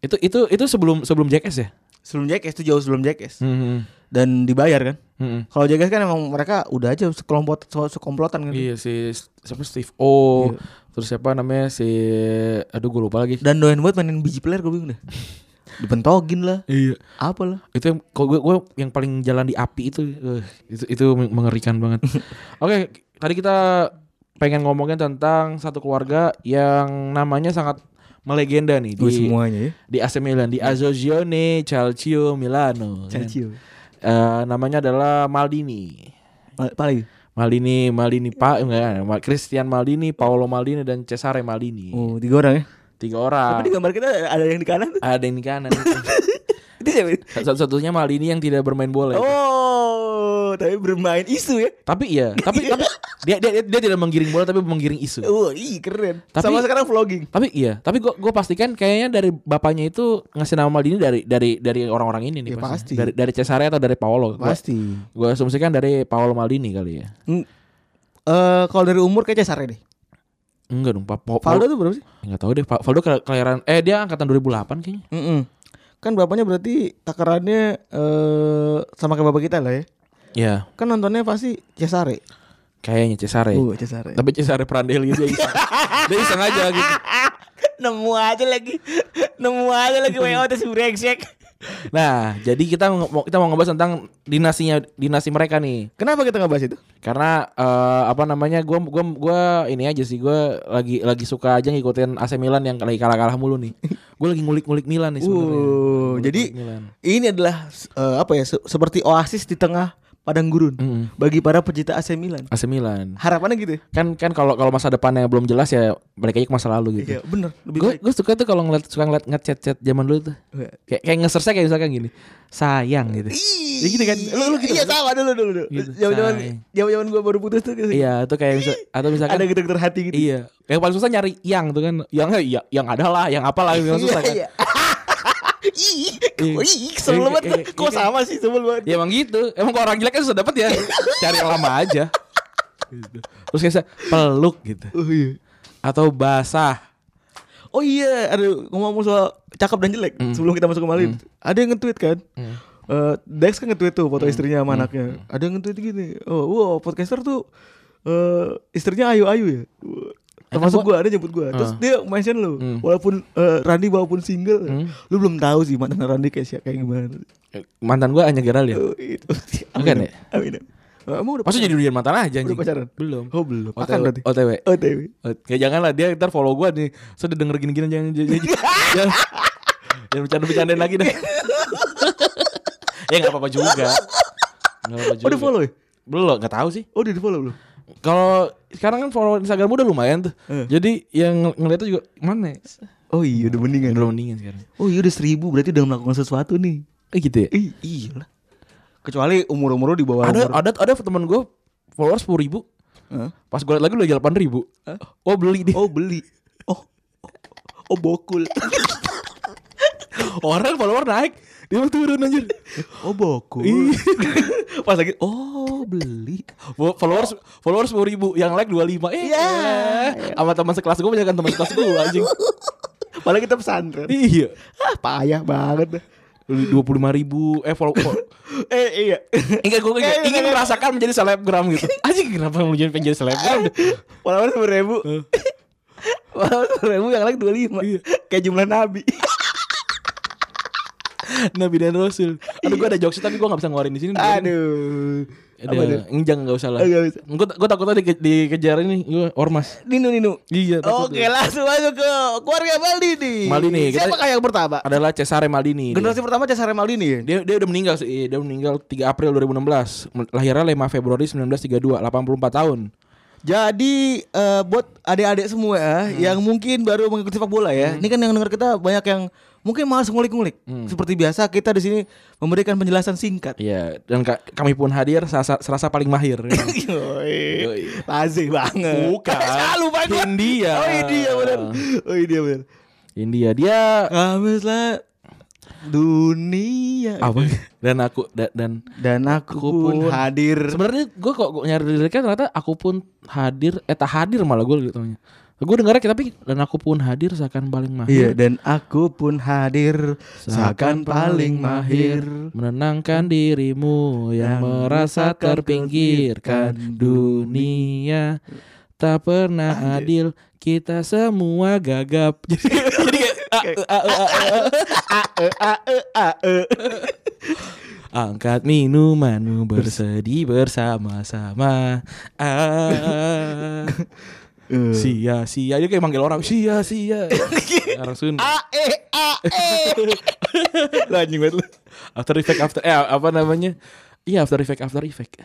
Speaker 2: itu itu itu sebelum sebelum Jackass ya
Speaker 3: Sebelum Jackass tuh jauh sebelum Jackass.
Speaker 2: hmm,
Speaker 3: Dan dibayar kan?
Speaker 2: hmm.
Speaker 3: Kalau Jackass kan emang mereka udah aja sekelompok se- sekomplotan kan.
Speaker 2: iya si siapa Steve O terus siapa namanya si aduh gue lupa lagi
Speaker 3: Dan doyan buat mainin biji player gue bingung deh. Dipentogin lah,
Speaker 2: iya
Speaker 3: apalah.
Speaker 2: itu yang kalau gue, gue yang paling jalan di api itu eh, itu itu mengerikan banget oke tadi kita pengen ngomongin tentang satu keluarga yang namanya sangat melegenda nih di
Speaker 3: Gue semuanya ya.
Speaker 2: di AC Milan di Azzurrione Calcio Milano kan.
Speaker 3: Cacil.
Speaker 2: Eh, namanya adalah Maldini
Speaker 3: Paling.
Speaker 2: Maldini Maldini Pak enggak Ma- Christian Maldini Paolo Maldini dan Cesare Maldini
Speaker 3: Oh, tiga orang ya.
Speaker 2: tiga orang
Speaker 3: Tapi di gambar kita ada yang di kanan tuh.
Speaker 2: ada yang di kanan
Speaker 3: Itu siapa?
Speaker 2: satu-satunya Maldini yang tidak bermain bola itu.
Speaker 3: Oh, tapi bermain isu ya.
Speaker 2: Tapi iya, tapi tapi dia, dia dia tidak menggiring bola tapi menggiring isu.
Speaker 3: Oh, ih keren.
Speaker 2: Tapi-
Speaker 3: Sama sekarang vlogging.
Speaker 2: Tapi iya, tapi gua gua pastikan kayaknya dari bapaknya itu ngasih nama Maldini dari dari dari orang-orang ini nih
Speaker 3: Ya, pasti.
Speaker 2: Dari dari Cesare atau dari Paolo. Gua,
Speaker 3: Pasti.
Speaker 2: gua asumsikan dari Paolo Maldini kali ya.
Speaker 3: Hmm. Eh, kalau dari umur kayak Cesare deh.
Speaker 2: Enggak dong, Pak Paolo.
Speaker 3: Valdo tuh berapa sih?
Speaker 2: Enggak tahu deh, Pak Valdo kela- kelahiran eh dia angkatan 2008 kayaknya.
Speaker 3: Mm-mm. Kan bapaknya berarti takarannya eh sama kayak bapak kita lah ya.
Speaker 2: Iya,
Speaker 3: Kan nontonnya pasti Cesare.
Speaker 2: kayaknya Cesare.
Speaker 3: Oh, Cesare.
Speaker 2: Iya. Tapi Cesare Prandelli dia iseng. dia iseng aja gitu.
Speaker 3: Nemu aja lagi. Nemu aja lagi WO tes brengsek.
Speaker 2: Nah, jadi kita mau kita mau ngebahas tentang dinasinya dinasti mereka nih.
Speaker 3: Kenapa kita ngebahas itu?
Speaker 2: Karena eh, apa namanya? Gua gua gua ini aja sih gua lagi lagi suka aja ngikutin AC Milan yang lagi kalah-kalah mulu nih. Gua lagi ngulik-ngulik Milan nih sebenarnya.
Speaker 3: Uh, jadi
Speaker 2: Milan.
Speaker 3: ini adalah eh, apa ya? se- seperti oasis di tengah padang gurun
Speaker 2: Mm-mm.
Speaker 3: bagi para pecinta AC Milan.
Speaker 2: AC Milan.
Speaker 3: Harapannya gitu. ya?
Speaker 2: Kan kan kalau kalau masa depannya belum jelas ya balik aja ke masa lalu gitu.
Speaker 3: Iya, bener lebih
Speaker 2: Gue
Speaker 3: baik.
Speaker 2: gue suka tuh kalau ngeliat suka ngeliat ngechat-chat zaman dulu tuh. Kayak kayak ngeserse kayak misalkan gini. Sayang gitu.
Speaker 3: Iya
Speaker 2: gitu kan? Lu- lu gitu
Speaker 3: Iya sama dulu dulu dulu.
Speaker 2: Gitu,
Speaker 3: Zaman-zaman
Speaker 2: say.
Speaker 3: zaman-zaman gua baru putus tuh. gitu.
Speaker 2: Iya, itu kayak misal, atau misalkan
Speaker 3: Ada getar-getar hati gitu.
Speaker 2: Iya. Yang paling susah nyari yang tuh kan. Yang yang, yang ada lah, yang apalah yang susah kan.
Speaker 3: Iya. Ih,
Speaker 2: Iya.
Speaker 3: ih, sebel
Speaker 2: Iya,
Speaker 3: banget.
Speaker 2: iya, iya,
Speaker 3: Kok
Speaker 2: iya.
Speaker 3: sama sih sebel banget.
Speaker 2: Ya emang gitu. Emang kalau orang jelek kan susah dapat ya. Cari yang lama aja. Gitu. Terus kayak saya, peluk gitu.
Speaker 3: Oh iya.
Speaker 2: Atau basah.
Speaker 3: Oh iya, aduh ngomong soal cakep dan jelek
Speaker 2: Hmm.
Speaker 3: sebelum kita masuk ke Malin. Ada yang nge-tweet kan? Eh, Dex kan nge-tweet tuh
Speaker 2: Hmm.
Speaker 3: foto istrinya sama anaknya. Ada yang nge-tweet gini. Oh, wow, podcaster tuh eh istrinya ayu-ayu ya. Wah, Termasuk gua ada jemput
Speaker 2: Hmm.
Speaker 3: gua. Terus dia mention lu, walaupun eh, Randi walaupun single,
Speaker 2: Hmm.
Speaker 3: lu belum tahu sih mantan Randi kayak siapa kayak gimana.
Speaker 2: Mantan gua hanya Geral ya.
Speaker 3: Oh, itu.
Speaker 2: Bukan ya?
Speaker 3: Amin. Eh, Emang udah
Speaker 2: Maksudnya jadi durian mantan aja
Speaker 3: pacaran?
Speaker 2: anjing.
Speaker 3: Udah pacaran?
Speaker 2: Belum.
Speaker 3: Oh, belum. Akan
Speaker 2: OTW.
Speaker 3: berarti.
Speaker 2: OTW.
Speaker 3: OTW.
Speaker 2: Kayak janganlah dia ntar follow gua nih. Saya udah denger gini-gini jangan jangan jangan, jangan bercanda-bercandain lagi deh. ya enggak apa-apa juga. Enggak apa-apa juga.
Speaker 3: Udah follow ya?
Speaker 2: Belum, enggak tahu sih.
Speaker 3: Oh, udah di follow belum?
Speaker 2: Kalau sekarang kan follow Instagram udah lumayan tuh.
Speaker 3: Eh.
Speaker 2: Jadi yang ng- ngeliatnya juga mana? ya?
Speaker 3: Oh iya, udah mendingan.
Speaker 2: Belum mendingan sekarang.
Speaker 3: Oh iya udah seribu berarti udah melakukan sesuatu nih.
Speaker 2: Eh gitu ya.
Speaker 3: Ih, iya lah. Kecuali umur-umur lu di bawah
Speaker 2: Ada
Speaker 3: umur.
Speaker 2: ada ada teman gue followers sepuluh ribu.
Speaker 3: Hah?
Speaker 2: Pas gue liat lagi udah delapan ribu. Oh beli deh.
Speaker 3: Oh beli. Oh, oh, oh bokul.
Speaker 2: Orang follower naik, dia mah turun anjir.
Speaker 3: Oh bokul. Pas lagi oh beli.
Speaker 2: Fo- followers followers sepuluh ribu, yang like dua lima. Eh,
Speaker 3: Ya.
Speaker 2: eh. sama teman sekelas gue banyak teman sekelas gue anjing.
Speaker 3: Malah kita pesantren.
Speaker 2: iya.
Speaker 3: Ah, payah banget.
Speaker 2: Dua puluh lima ribu, eh follow. follow-
Speaker 3: Eh iya.
Speaker 2: Enggak gue
Speaker 3: Eh,
Speaker 2: ingin
Speaker 3: eh, eh.
Speaker 2: merasakan menjadi selebgram gitu. Iya, Anjing kenapa lu jadi pengen jadi selebgram?
Speaker 3: Walaupun sepuluh ribu. Walaupun sepuluh ribu yang lagi dua lima. Kayak jumlah nabi.
Speaker 2: Nabi dan Rasul. Aduh gue ada jokes tapi gue gak bisa ngeluarin di sini.
Speaker 3: Aduh. Apa tuh?
Speaker 2: Ada. Enjang gak usah lah.
Speaker 3: Oh, nggak bisa.
Speaker 2: Gue gue takutnya dike, dikejar ini gue ormas.
Speaker 3: Nino Nino.
Speaker 2: Iya. takut
Speaker 3: Oke
Speaker 2: gua.
Speaker 3: langsung aja ke keluarga Maldini.
Speaker 2: Maldini, kita-
Speaker 3: Siapa kayak yang pertama?
Speaker 2: Adalah Cesare Maldini. dia.
Speaker 3: Generasi pertama Cesare Maldini ya?
Speaker 2: Dia, dia udah meninggal sih. iya, Dia meninggal 3 April 2016. Mel- Lahirnya 5 Februari 1932, 84 tahun.
Speaker 3: Jadi eh, buat adik-adik semua eh, yang mungkin baru mengikuti sepak bola ya. Ini kan yang denger kita banyak yang mungkin malas ngulik-ngulik. Seperti biasa kita di sini memberikan penjelasan singkat.
Speaker 2: Iya, dan ka- kami pun hadir serasa, serasa paling mahir. Yoi.
Speaker 3: Yoi. Kan? Lazim banget.
Speaker 2: Bukan.
Speaker 3: Selalu banget.
Speaker 2: Kan? India.
Speaker 3: Oh India benar. Oh India benar.
Speaker 2: India dia
Speaker 3: Kamislah dunia
Speaker 2: apa? Dan aku da- dan
Speaker 3: dan aku,
Speaker 2: Aku
Speaker 3: pun,
Speaker 2: pun.
Speaker 3: hadir.
Speaker 2: Sebenarnya gue kok gua nyari liriknya ternyata aku pun hadir, eh tak hadir malah gue gitu namanya. Gue dengarnya kayak, tapi dan aku pun hadir seakan paling
Speaker 3: Iya
Speaker 2: mahir.
Speaker 3: dan aku pun hadir seakan paling mahir.
Speaker 2: menenangkan dirimu yang,
Speaker 3: Yang
Speaker 2: merasa
Speaker 3: merasakan
Speaker 2: terpinggirkan
Speaker 3: terpinggirkan
Speaker 2: dunia tak pernah adil kita semua gagap. Jadi jadi kayak, ah, ah, ah, ah, ah. Angkat minumanmu bersedih bersama-sama. Ah. Sia-sia dia kayak manggil orang sia-sia. orang Sunda.
Speaker 3: A E A E. Lu anjing banget lu.
Speaker 2: After effect after eh apa namanya? Iya after effect after effect.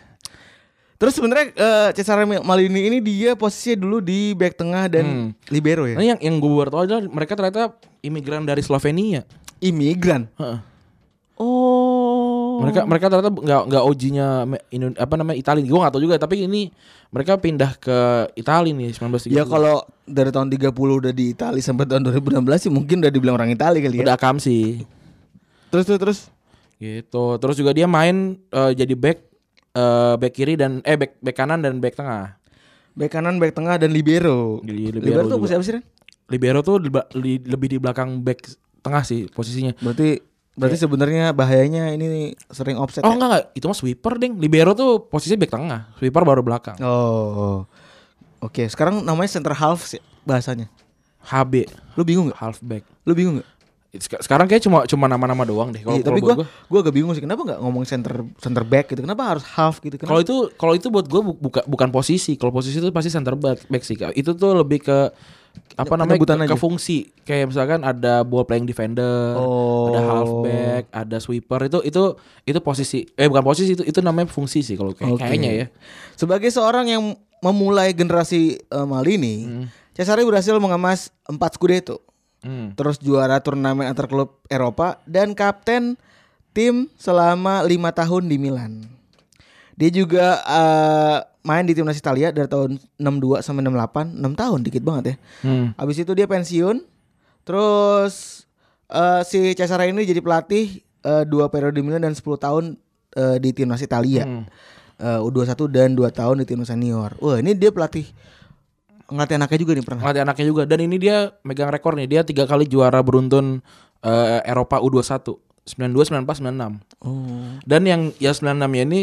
Speaker 3: Terus sebenarnya eh, Cesare Malini ini dia posisinya dulu di back tengah dan libero ya.
Speaker 2: Nah, yang yang gue baru tahu adalah mereka ternyata imigran dari Slovenia.
Speaker 3: Imigran.
Speaker 2: Heeh.
Speaker 3: Oh.
Speaker 2: Mereka mereka ternyata nggak nggak OG-nya me- Indo- apa namanya Italia. Gue nggak tahu juga tapi ini mereka pindah ke Italia nih 1930.
Speaker 3: Ya kalau dari tahun 30 udah di Itali sampai tahun 2016 sih mungkin udah dibilang orang Itali kali ya.
Speaker 2: udah akam sih.
Speaker 3: Terus terus terus.
Speaker 2: Gitu. Terus juga dia main eh, jadi back eh, back kiri dan eh back back kanan dan back tengah.
Speaker 3: Back kanan, back tengah dan libero.
Speaker 2: Jadi libero
Speaker 3: libero tuh
Speaker 2: juga.
Speaker 3: siapa sih? Ren?
Speaker 2: Libero tuh di ba- li- lebih di belakang back tengah sih posisinya.
Speaker 3: Berarti berarti sebenarnya bahayanya ini sering offset.
Speaker 2: Oh
Speaker 3: ya?
Speaker 2: enggak enggak, itu mah sweeper ding. Libero tuh posisinya back tengah, sweeper baru belakang.
Speaker 3: Oh. Oke, sekarang namanya center half sih bahasanya.
Speaker 2: HB,
Speaker 3: Lu bingung gak?
Speaker 2: half back.
Speaker 3: Lu bingung gak?
Speaker 2: Sek- Sekarang kayak cuma cuma nama-nama doang deh. Kalau
Speaker 3: Iya, tapi
Speaker 2: kalau buat
Speaker 3: gua
Speaker 2: gua.
Speaker 3: gua agak bingung sih kenapa nggak ngomong center center back gitu. Kenapa harus half gitu?
Speaker 2: Kalau
Speaker 3: Kenapa?
Speaker 2: itu kalau itu buat gue buka, bukan posisi. Kalau posisi itu pasti center back, back sih. Itu tuh lebih ke apa namanya
Speaker 3: Penyebutan
Speaker 2: ke, ke
Speaker 3: aja.
Speaker 2: fungsi. Kayak misalkan ada ball playing defender,
Speaker 3: Oh.
Speaker 2: ada halfback, ada sweeper. Itu itu itu posisi. Eh bukan posisi itu itu namanya fungsi sih kalau kayak,
Speaker 3: Oke.
Speaker 2: kayaknya ya.
Speaker 3: Sebagai seorang yang memulai generasi eh, Maldini, Cesare berhasil mengemas 4 Scudetto,
Speaker 2: Hmm.
Speaker 3: terus juara turnamen antar klub Eropa dan kapten tim selama lima tahun di Milan. Dia juga eh, main di timnas Italia dari tahun 62 sampai 68, 6 tahun dikit banget ya.
Speaker 2: Hmm.
Speaker 3: Habis itu dia pensiun. Terus eh, si Cesare ini jadi pelatih eh, dua periode di Milan dan 10 tahun eh, di timnas Italia. Eh, U21 dan 2 tahun di timnas senior. Wah, ini dia pelatih ngelatih anaknya juga nih pernah.
Speaker 2: Ngelatih anaknya juga dan ini dia megang rekor nih. Dia tiga kali juara beruntun eh, Eropa U21. 92, 94, 96.
Speaker 3: Oh.
Speaker 2: Dan yang ya 96 nya ini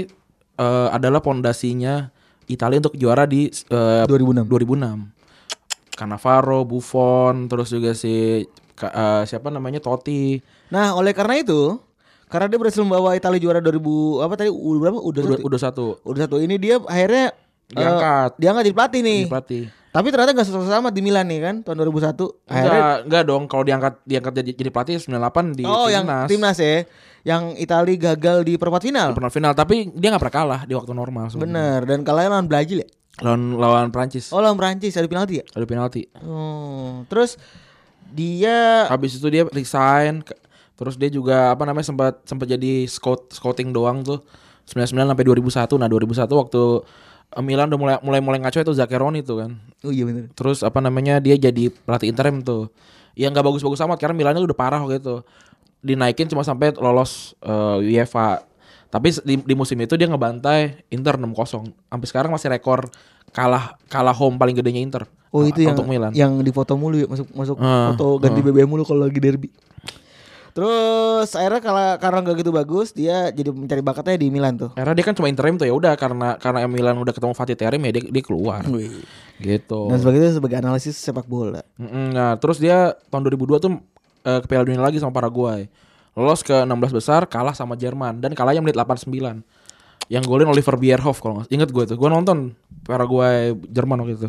Speaker 2: eh, adalah pondasinya Italia untuk juara di eh,
Speaker 3: 2006.
Speaker 2: 2006. Cannavaro, Buffon, terus juga si ka- eh, siapa namanya Totti.
Speaker 3: Nah, oleh karena itu, karena dia berhasil membawa Italia juara 2000 apa tadi U berapa?
Speaker 2: Udah,
Speaker 3: U21.
Speaker 2: udah satu
Speaker 3: U21 ini dia akhirnya eh,
Speaker 2: Diangkat.
Speaker 3: diangkat jadi pelatih nih.
Speaker 2: ini pelatih.
Speaker 3: Tapi ternyata gak sukses amat di Milan nih kan tahun 2001. Akhirnya
Speaker 2: Enggak, enggak dong kalau diangkat diangkat jadi, jadi pelatih 98 di
Speaker 3: Oh,
Speaker 2: Iya,
Speaker 3: yang
Speaker 2: timnas.
Speaker 3: timnas ya. Yang Itali gagal di perempat
Speaker 2: Di
Speaker 3: final.
Speaker 2: Pernah final tapi dia nggak pernah kalah di waktu normal sebenarnya.
Speaker 3: Bener. Dan kalahnya lawan Brazil ya.
Speaker 2: Lawan lawan Prancis.
Speaker 3: Oh, lawan Prancis ada penalti ya.
Speaker 2: Ada penalti.
Speaker 3: Oh, terus dia
Speaker 2: Habis itu dia resign ke- terus dia juga apa namanya sempat sempat jadi scout scouting doang tuh 99 sampai 2001. Nah, 2001 waktu eh, Milan udah mulai mulai mulai ngaco itu Zaccheroni tuh kan.
Speaker 3: Oh iya bener.
Speaker 2: Terus apa namanya dia jadi pelatih interim tuh. Ya nggak bagus-bagus amat karena Milannya udah parah waktu itu. Dinaikin cuma sampai lolos eh, UEFA. Tapi di, di musim itu dia ngebantai Inter 6-0. Sampai sekarang masih rekor kalah kalah home paling gedenya Inter.
Speaker 3: Oh itu
Speaker 2: Eh,
Speaker 3: yang
Speaker 2: untuk Milan.
Speaker 3: yang difoto mulu ya masuk masuk
Speaker 2: Ah,
Speaker 3: foto ganti BBM mulu kalau lagi derby. Terus akhirnya kalau karena nggak gitu bagus dia jadi mencari bakatnya di Milan tuh.
Speaker 2: Karena dia kan cuma interim tuh ya udah karena karena Milan udah ketemu Fatih Terim ya dia, dia keluar. gitu.
Speaker 3: Iya. Dan sebagai itu sebagai analisis sepak bola.
Speaker 2: Mm-mm. Nah, terus dia tahun 2002 tuh eh, ke Piala Dunia lagi sama Paraguay. Lolos ke 16 besar, kalah sama Jerman dan kalahnya menit 89. Yang golin Oliver Bierhoff kalau nggak Ingat gue tuh, gue nonton Paraguay Jerman waktu itu.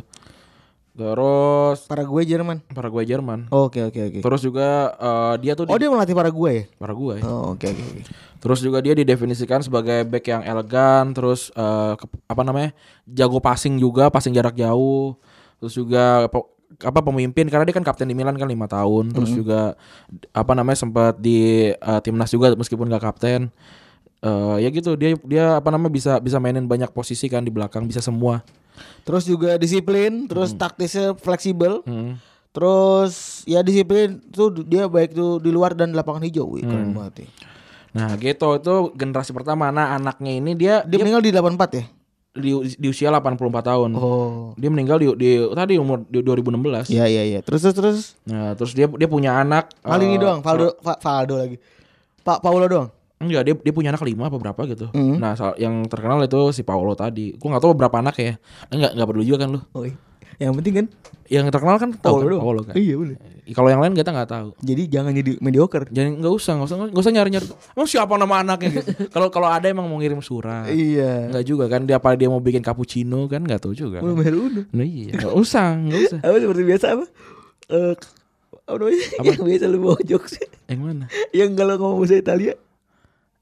Speaker 2: Terus
Speaker 3: Paraguay Jerman.
Speaker 2: Paraguay Jerman.
Speaker 3: Oke oke oke.
Speaker 2: Terus juga eh, dia tuh di Iya.
Speaker 3: Oh dia melatih Paraguay ya?
Speaker 2: Paraguay.
Speaker 3: Oh oke oke. oke.
Speaker 2: Terus juga dia didefinisikan sebagai back yang elegan, terus eh, ke- apa namanya? jago passing juga, passing jarak jauh. Terus juga pe- apa pemimpin karena dia kan kapten di Milan kan lima tahun, terus juga apa namanya sempat di eh, timnas juga meskipun gak kapten. Eh, ya gitu dia dia apa namanya bisa bisa mainin banyak posisi kan di belakang bisa semua.
Speaker 3: Terus juga disiplin, terus taktisnya fleksibel.
Speaker 2: Hmm.
Speaker 3: Terus ya disiplin tuh dia baik tuh di luar dan di lapangan hijau. Wih, keren banget. Ya.
Speaker 2: Nah, gitu itu generasi pertama. Nah, anaknya ini dia
Speaker 3: Dia meninggal di 84 ya?
Speaker 2: di, di usia 84 tahun.
Speaker 3: Oh.
Speaker 2: Dia meninggal di, di tadi umur di 2016.
Speaker 3: Iya iya iya. Terus terus terus
Speaker 2: Nah, terus dia dia punya anak.
Speaker 3: Mali
Speaker 2: eh,
Speaker 3: ini doang, Valdo, Fa- Valdo lagi. Pak Paulo doang.
Speaker 2: Enggak, dia dia punya anak lima apa berapa gitu.
Speaker 3: Hmm.
Speaker 2: Nah, sal- yang terkenal itu si Paolo tadi. Gua nggak tahu berapa anak ya. Enggak enggak peduli juga kan lu.
Speaker 3: Oi. Oh, Yang penting kan
Speaker 2: Yang terkenal kan tahu
Speaker 3: Paolo
Speaker 2: kan,
Speaker 3: doang.
Speaker 2: Paolo kan.
Speaker 3: Iya boleh.
Speaker 2: Kalau yang lain kita nggak tahu.
Speaker 3: Jadi jangan jadi mediocre.
Speaker 2: Jadi nggak usah, nggak usah, nggak usah nyari-nyari. Emang siapa nama anaknya gitu. Kalau kalau ada emang mau ngirim surat.
Speaker 3: Iya.
Speaker 2: Enggak juga kan dia apa dia mau bikin cappuccino kan nggak tahu juga.
Speaker 3: Mau
Speaker 2: Kan.
Speaker 3: bayar uno.
Speaker 2: Nah, iya, nggak usah, nggak usah.
Speaker 3: Apa seperti biasa apa? Eh apa namanya? Yang biasa lu bawa jokes.
Speaker 2: Yang mana?
Speaker 3: Yang kalau ngomong bahasa Italia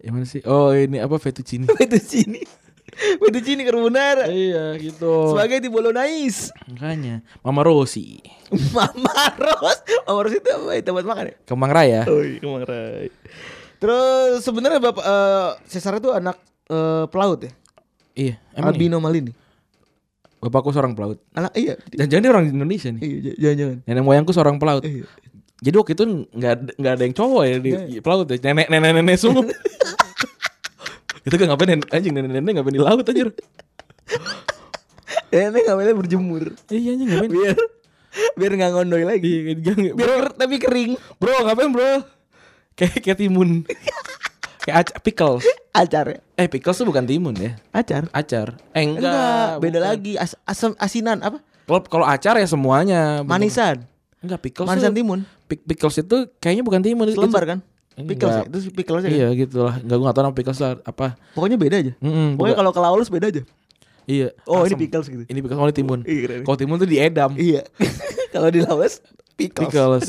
Speaker 2: Yang mana sih? Oh, ini apa fettuccine?
Speaker 3: fettuccine. fettuccine carbonara.
Speaker 2: iya, gitu.
Speaker 3: Sebagai di Bolognese.
Speaker 2: Makanya, Mama Rosi,
Speaker 3: Mama Ros. Mama Ros itu apa? Itu buat makan ya?
Speaker 2: Kemang Raya.
Speaker 3: Oi, Kemang Rai. Terus sebenarnya Bapak eh Cesar itu anak eh, pelaut ya?
Speaker 2: Iya, emang iya?
Speaker 3: Albino Malini.
Speaker 2: Bapakku seorang pelaut.
Speaker 3: Anak iya.
Speaker 2: Jangan-jangan dia orang Indonesia nih.
Speaker 3: Iya, j- jangan-jangan.
Speaker 2: Nenek moyangku seorang pelaut.
Speaker 3: Iya.
Speaker 2: Jadi waktu itu nggak ada- nggak ada yang cowok ya di di pelaut ya. Nenek nenek nenek semua. itu kan ngapain nen- anjing nenek nenek ngapain di laut anjir.
Speaker 3: Nenek ngapainnya Eh, berjemur.
Speaker 2: Iya anjing ngapain.
Speaker 3: Biar biar nggak ngondoi lagi.
Speaker 2: Iya, jangan-
Speaker 3: Biar ker- tapi kering.
Speaker 2: bro ngapain bro? Kayak kayak timun. kayak acar, pickles.
Speaker 3: Acar ya.
Speaker 2: Eh pickles tuh bukan timun ya.
Speaker 3: Acar.
Speaker 2: Acar. Eh enggak.
Speaker 3: Enggak, beda
Speaker 2: bukan.
Speaker 3: lagi As- asam asinan apa?
Speaker 2: Kalau kalau acar ya semuanya.
Speaker 3: Manisan.
Speaker 2: Bukan. Enggak Pickles.
Speaker 3: Manisan
Speaker 2: tuh-
Speaker 3: timun.
Speaker 2: Pick- Pickles itu kayaknya bukan timun itu-
Speaker 3: Selembar kan?
Speaker 2: Enggak.
Speaker 3: Pickles ya? Itu pickles ya?
Speaker 2: Iya gitu lah. Enggak gue gak tau nama pickles lah apa.
Speaker 3: Pokoknya beda aja.
Speaker 2: Mm-mm,
Speaker 3: Pokoknya
Speaker 2: juga-
Speaker 3: kalau ke Laos beda aja.
Speaker 2: Iya.
Speaker 3: Oh, ini
Speaker 2: asem.
Speaker 3: pickles gitu.
Speaker 2: Ini pickles oh, ini timun.
Speaker 3: Iya, keren.
Speaker 2: Kalau timun tuh diedam.
Speaker 3: Iya. kalau di Laos pickles.
Speaker 2: Pickles.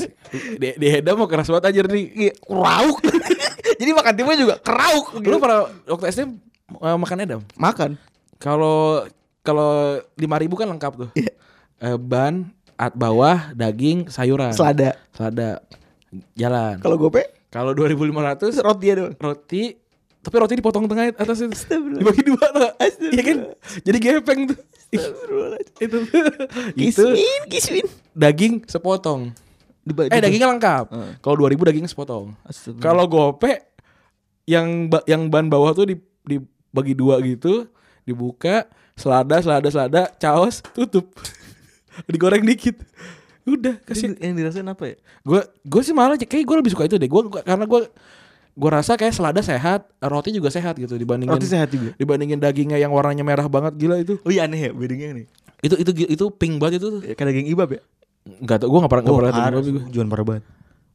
Speaker 2: di, diedam mah keras banget aja nih.
Speaker 3: Kerauk. Jadi makan timun juga kerauk.
Speaker 2: Lu pernah waktu SD eh, makan edam?
Speaker 3: makan.
Speaker 2: Kalau kalau lima ribu kan lengkap tuh. Eh, ban, at bawah, daging, sayuran.
Speaker 3: Selada.
Speaker 2: Selada. Jalan.
Speaker 3: Kalau gope
Speaker 2: Kalau 2500
Speaker 3: roti ya doang.
Speaker 2: roti tapi roti dipotong tengah atas itu. Dibagi dua lah. Iya kan? Jadi gepeng tuh. itu itu
Speaker 3: Kiswin, kiswin.
Speaker 2: daging sepotong. Eh dagingnya lengkap.
Speaker 3: Heeh.
Speaker 2: Kalau 2000 dagingnya sepotong.
Speaker 3: Astagfirullah.
Speaker 2: Kalau gope yang ba- yang ban bawah tuh di- dibagi dua gitu, dibuka, selada selada selada, caos, tutup. Digoreng dikit. Udah, kasih
Speaker 3: Jadi yang dirasain apa ya?
Speaker 2: gue gue sih malah kayak gue lebih suka itu deh gue karena gue gue rasa kayak selada sehat roti juga sehat gitu dibandingin
Speaker 3: Roti sehat juga.
Speaker 2: dibandingin dagingnya yang warnanya merah banget gila itu
Speaker 3: Oh iya aneh ya bedanya nih.
Speaker 2: itu itu itu, pink banget itu
Speaker 3: Ya, Kayak daging ibab ya?
Speaker 2: nggak tau gue nggak pernah nggak pernah
Speaker 3: harus.
Speaker 2: gue
Speaker 3: Juan parah banget.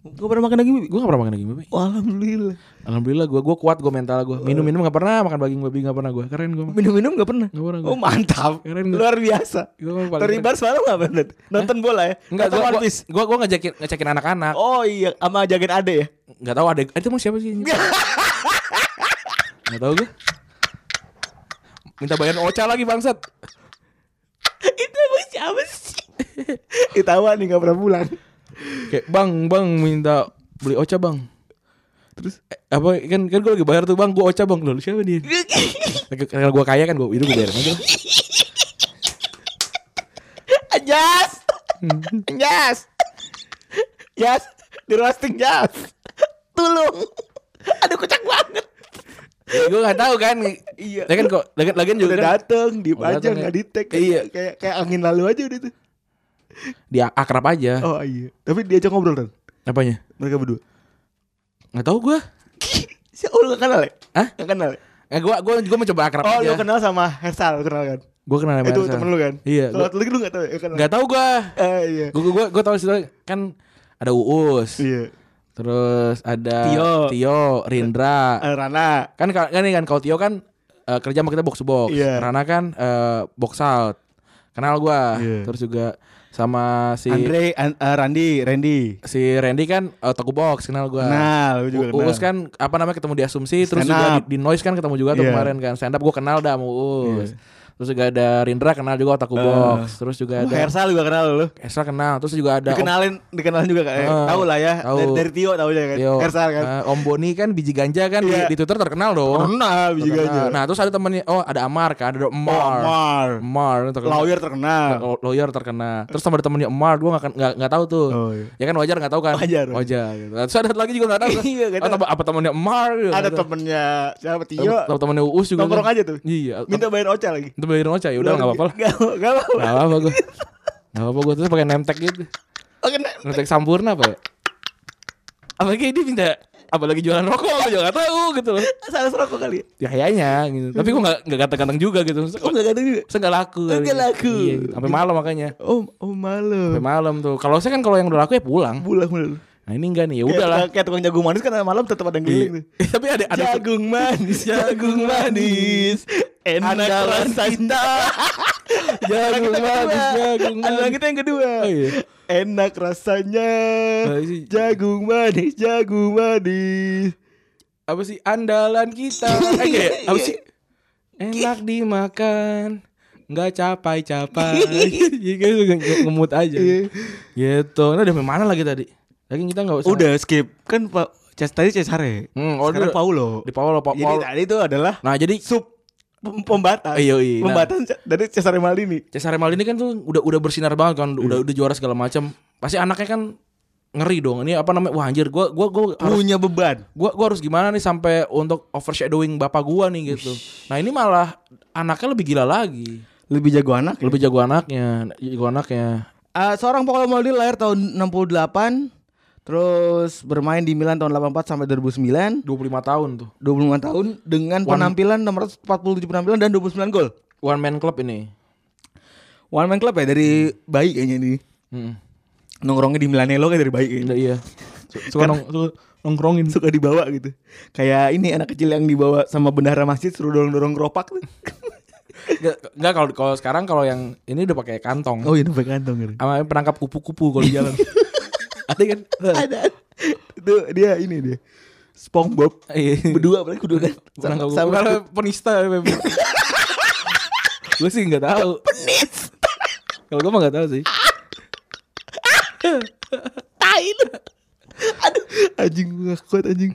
Speaker 3: Gue pernah makan daging babi?
Speaker 2: gue nggak pernah makan daging babi
Speaker 3: Wah, Alhamdulillah.
Speaker 2: alhamdulillah gue gue kuat gue mental gue minum minum nggak pernah makan daging babi nggak pernah gue keren gue
Speaker 3: Minum-minum gak pernah?
Speaker 2: Nggak pernah gua.
Speaker 3: Oh mantap.
Speaker 2: Keren gua.
Speaker 3: Luar biasa.
Speaker 2: Gua paling
Speaker 3: Tony
Speaker 2: keren.
Speaker 3: Bar semalam gak pernah? Nonton bola ya?
Speaker 2: Enggak,
Speaker 3: Nonton
Speaker 2: gue
Speaker 3: One Piece?
Speaker 2: gue gue ngajakin ngecekin anak-anak.
Speaker 3: Oh iya, sama jagain ade ya?
Speaker 2: Enggak tahu ada itu mau siapa sih? Enggak tahu gue. Minta bayaran Ocha lagi bangsat.
Speaker 3: Itu emang siapa sih? Itawa nih gak pernah pulang.
Speaker 2: Kayak bang, bang minta beli ocha bang. Terus eh, apa kan kan gue lagi bayar tuh bang, gue ocha bang loh. lu Siapa dia? Lagi- Karena gue kaya kan gue itu gue bayar aja.
Speaker 3: Jas. Jas. Jas. Di roasting jas. Tolong. Aduh kocak banget.
Speaker 2: gue nggak tahu kan.
Speaker 3: Iya.
Speaker 2: Ya kan kok lagian lagian juga
Speaker 3: Udah
Speaker 2: kan,
Speaker 3: dateng, diem
Speaker 2: Udah
Speaker 3: aja
Speaker 2: dateng,
Speaker 3: nggak
Speaker 2: ya.
Speaker 3: di tag
Speaker 2: Iya.
Speaker 3: kayak, kayak kayak angin lalu aja udah tuh.
Speaker 2: dia akrab aja.
Speaker 3: Oh iya. Tapi diajak ngobrol kan
Speaker 2: Apanya?
Speaker 3: mereka berdua.
Speaker 2: Nggak tahu gue.
Speaker 3: Si oh, lu nggak kenal ya?
Speaker 2: Hah?
Speaker 3: Nggak kenal. ya?
Speaker 2: Eh gue gue gue mencoba akrab
Speaker 3: Oh, lu
Speaker 2: aja.
Speaker 3: kenal sama Hersal, lu kenal kan?
Speaker 2: Gue kenal sama
Speaker 3: itu
Speaker 2: Elsa.
Speaker 3: temen lu kan?
Speaker 2: Iya.
Speaker 3: Kalau lu lu nggak tahu ya kenal.
Speaker 2: Nggak tahu gue.
Speaker 3: Eh, iya.
Speaker 2: Gue gue gue tahu situ kan ada Uus,
Speaker 3: Iya.
Speaker 2: terus ada
Speaker 3: Tio.
Speaker 2: Rindra.
Speaker 3: Eh, Rana.
Speaker 2: kan kan kan, kan kalau Tio kan eh, kerja sama kita box to box
Speaker 3: Iya.
Speaker 2: Rana kan eh, box out kenal gua
Speaker 3: Iya.
Speaker 2: terus juga sama si
Speaker 3: Andre, An- eh, Randi, Randy.
Speaker 2: si Randy kan eh, toko box kenal gua
Speaker 3: Kenal, gua juga
Speaker 2: U- Uus
Speaker 3: kenal.
Speaker 2: kan apa namanya ketemu di asumsi terus
Speaker 3: Stand
Speaker 2: juga
Speaker 3: up.
Speaker 2: di, di noise kan ketemu juga tuh
Speaker 3: Iya.
Speaker 2: kemarin kan stand up gua kenal dah sama Uus terus juga ada Rindra kenal juga otaku box terus juga
Speaker 3: Wah,
Speaker 2: ada
Speaker 3: Eh. Hersal juga kenal lu.
Speaker 2: Esra kenal terus juga ada Om
Speaker 3: dikenalin dikenalin juga kan
Speaker 2: Heeh.
Speaker 3: tahu lah ya
Speaker 2: Tahu.
Speaker 3: dari, dari Tio tahu aja kan
Speaker 2: Ah, Tio.
Speaker 3: Hersal kan
Speaker 2: Eh, Om Boni kan biji ganja kan di-
Speaker 3: Iya.
Speaker 2: di, Twitter terkenal dong
Speaker 3: pernah juga aja
Speaker 2: Terkenal. nah terus ada temennya oh ada Amar kan ada Omar
Speaker 3: Omar
Speaker 2: Mar terkenal.
Speaker 3: lawyer terkenal
Speaker 2: Lo- lawyer terkena. Terus sama ada temennya Mar gue nggak nggak nggak tahu tuh.
Speaker 3: Oh, iya.
Speaker 2: Ya kan wajar nggak tahu kan?
Speaker 3: Wajar, wajar.
Speaker 2: Wajar. gitu. Terus ada satu lagi juga nggak tahu. kan?
Speaker 3: Iya, nggak
Speaker 2: Oh,
Speaker 3: tahu.
Speaker 2: apa, apa temennya Mar? gitu.
Speaker 3: ada iya.
Speaker 2: Nggak tahu.
Speaker 3: temennya siapa Tio
Speaker 2: Tem- temennya Uus juga.
Speaker 3: nongkrong
Speaker 2: kan?
Speaker 3: aja tuh
Speaker 2: Iya.
Speaker 3: minta bayar oca lagi
Speaker 2: Itu bayarin aja ya udah nggak apa-apa lah.
Speaker 3: Nggak- nggak apa-apa
Speaker 2: Nggak apa-apa gue. Nggak apa-apa gue terus pakai nemtek gitu.
Speaker 3: Oke, nah.
Speaker 2: Nemtek sampurna apa? ya? Apalagi dia minta apalagi jualan rokok gue juga nggak tahu gitu loh.
Speaker 3: sales rokok kali ya?
Speaker 2: Ya kayaknya gitu. Tapi gue nggak nggak ganteng-ganteng juga gitu. Maksudnya,
Speaker 3: oh nggak ganteng juga
Speaker 2: Saya nggak laku.
Speaker 3: Nggak
Speaker 2: kali.
Speaker 3: laku.
Speaker 2: Iya, gitu. sampai malam makanya.
Speaker 3: oh oh malu
Speaker 2: Sampai malam tuh. Kalau saya kan kalau yang udah laku ya pulang.
Speaker 3: bulah malu
Speaker 2: Nah ini enggak nih, ya udahlah.
Speaker 3: kayak, kayak tukang jagung manis kan malam tetap ada yang
Speaker 2: Iya.
Speaker 3: keliling tuh
Speaker 2: Tapi ada ada
Speaker 3: jagung manis jagung manis enak
Speaker 2: Andalan
Speaker 3: rasa kita
Speaker 2: jagung manis, jagung
Speaker 3: Andalan
Speaker 2: manis.
Speaker 3: kita yang kedua
Speaker 2: Oh, iya.
Speaker 3: Enak rasanya
Speaker 2: Oh, sih.
Speaker 3: Jagung manis Jagung manis
Speaker 2: Apa sih andalan kita? Eh,
Speaker 3: Iya,
Speaker 2: enggak ya? apa sih? Enak dimakan. Enggak capai-capai. Iya kan nge- ngemut aja.
Speaker 3: Iya.
Speaker 2: Gitu. Nah, udah mana lagi tadi? Lagi kita enggak usah.
Speaker 3: Udah skip Kan Pak Ces- Tadi Cesare
Speaker 2: Hmm, oh,
Speaker 3: Sekarang
Speaker 2: udah.
Speaker 3: Paulo
Speaker 2: Di Paolo, Pa-
Speaker 3: Jadi
Speaker 2: Paolo.
Speaker 3: tadi itu adalah
Speaker 2: Nah, jadi
Speaker 3: Sub pem- Pembatas
Speaker 2: Iya, iya. Nah.
Speaker 3: Pembatas Ce- dari Cesare Maldini
Speaker 2: Cesare Maldini kan tuh udah udah bersinar banget kan, udah
Speaker 3: Iya.
Speaker 2: udah juara segala macam. Pasti anaknya kan ngeri dong. Ini apa namanya? Wah, anjir, gua gua gua harus
Speaker 3: Punya beban
Speaker 2: gua gua harus gimana nih sampai untuk overshadowing bapak gua nih gitu. Nah, ini malah anaknya lebih gila lagi.
Speaker 3: Lebih jago anak
Speaker 2: Lebih jago anaknya, jago anaknya.
Speaker 3: Eh, seorang Paolo Maldini lahir tahun 68 Terus bermain di Milan tahun 84 sampai
Speaker 2: 25
Speaker 3: 2009
Speaker 2: tahun tuh.
Speaker 3: 25 tahun dengan penampilan 647 penampilan dan 29 gol.
Speaker 2: One man club ini.
Speaker 3: One man club ya dari bayi kayaknya ini.
Speaker 2: Hmm.
Speaker 4: nongkrongnya di Milanello kayak dari bayi kayaknya.
Speaker 2: Iya, iya. Su- Suka nong- su- nongkrongin.
Speaker 4: suka dibawa gitu kayak ini anak kecil yang dibawa sama bendahara masjid suruh dorong-dorong keropak tuh
Speaker 2: Nggak- Nggak kalau kalau sekarang kalau yang ini udah pakai kantong.
Speaker 4: oh iya pakai kantong gitu
Speaker 2: Sama penangkap kupu-kupu kalau di jalan. Ada kan?
Speaker 4: ada itu dia ini dia SpongeBob
Speaker 2: Iya.
Speaker 4: berdua berarti kudu kan
Speaker 2: Bukan
Speaker 4: sama,
Speaker 2: kau
Speaker 4: sama
Speaker 2: bukan penista ya, Gue sih gak tahu Penista Kalau gue mah gak tahu sih
Speaker 4: tai lu. aduh anjing gue gak kuat anjing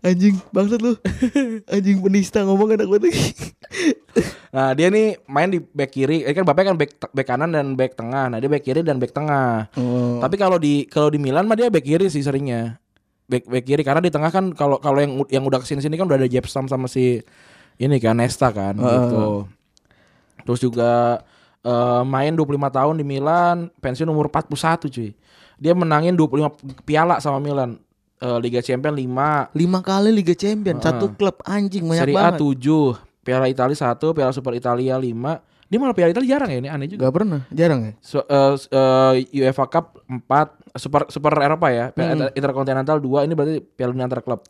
Speaker 4: anjing bangsat lu anjing penista ngomong anak gue tuh
Speaker 2: Nah dia nih main di back kiri eh, kan bapaknya kan back, back kanan dan back tengah Nah dia back kiri dan back tengah
Speaker 4: Oh.
Speaker 2: Tapi kalau di kalau di Milan mah dia back kiri sih seringnya Back, back kiri karena di tengah kan kalau kalau yang u- yang udah kesini sini kan udah ada Jepsam sama si ini kan Nesta kan gitu. Terus juga eh, main 25 tahun di Milan, pensiun umur 41 cuy. Dia menangin 25 piala sama Milan. Eh, Liga Champions 5,
Speaker 4: lima kali Liga Champion satu klub anjing banyak
Speaker 2: Serie A
Speaker 4: banget
Speaker 2: 7, Piala Italia 1, Piala Super Italia 5. Dia malah Piala Italia jarang ya ini aneh juga.
Speaker 4: gak pernah jarang ya
Speaker 2: So- eh, s- eh, UEFA Cup 4, Super Super Eropa ya.
Speaker 3: Hmm.
Speaker 2: Piala Inter- Interkontinental 2 ini berarti Piala Dunia antar klub.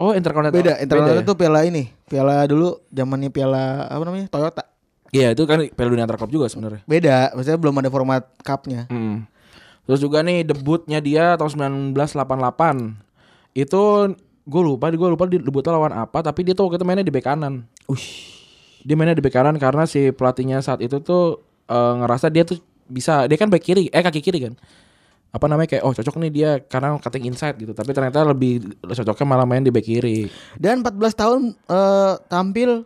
Speaker 2: Oh, Interkontinental.
Speaker 3: Beda, internasional
Speaker 2: ya?
Speaker 3: tuh piala ini, piala dulu zamannya piala apa namanya? Toyota.
Speaker 2: Iya, itu kan Piala Dunia antar klub juga sebenarnya.
Speaker 3: Beda, maksudnya belum ada format cupnya.
Speaker 2: Hmm. Terus juga nih debutnya dia tahun 1988. Itu gue lupa, gue lupa di- debutnya lawan apa, tapi dia tuh waktu itu mainnya di bek kanan. Dia mainnya di bek kanan karena si pelatihnya saat itu tuh eh, ngerasa dia tuh bisa, dia kan bek kiri, eh kaki kiri kan. Apa namanya kayak oh cocok nih dia karena cutting inside gitu, tapi ternyata lebih cocoknya malah main di bek kiri.
Speaker 3: Dan 14 tahun eh, tampil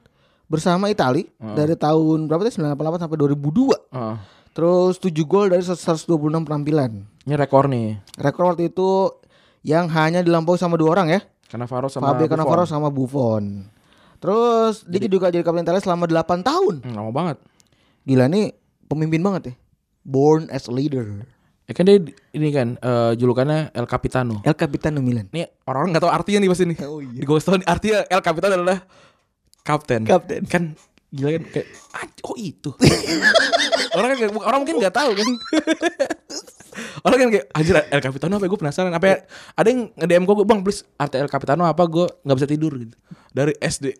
Speaker 3: bersama Itali dari tahun berapa tuh 98 sampai 2002.
Speaker 2: Heeh.
Speaker 3: Terus 7 gol dari 126 penampilan.
Speaker 2: ini rekor nih.
Speaker 3: Rekor waktu itu yang hanya dilampaui sama dua orang ya.
Speaker 2: Karena Faro sama
Speaker 3: Fabio
Speaker 2: Buffon.
Speaker 3: Cannavaro sama Buffon. Terus dia juga jadi kapten Italia selama 8 tahun.
Speaker 2: Hmm, lama banget.
Speaker 3: Gila nih pemimpin banget ya. Born as a leader.
Speaker 2: Ya kan dia di- ini kan eh, julukannya El Capitano.
Speaker 3: El Capitano Milan.
Speaker 2: Nih orang-orang gak tahu artinya nih pas ini.
Speaker 3: Oh iya.
Speaker 2: Di Ghost Town artinya El Capitan adalah kapten.
Speaker 4: Kapten.
Speaker 2: Kan gila kan kayak ah, oh itu. orang kan nggak- orang mungkin nggak tahu kan. orang kan kayak anjir El Capitano apa ya? gue penasaran apa ya? ada yang nge-DM gue bang please arti El Capitano apa gue nggak bisa tidur gitu dari SD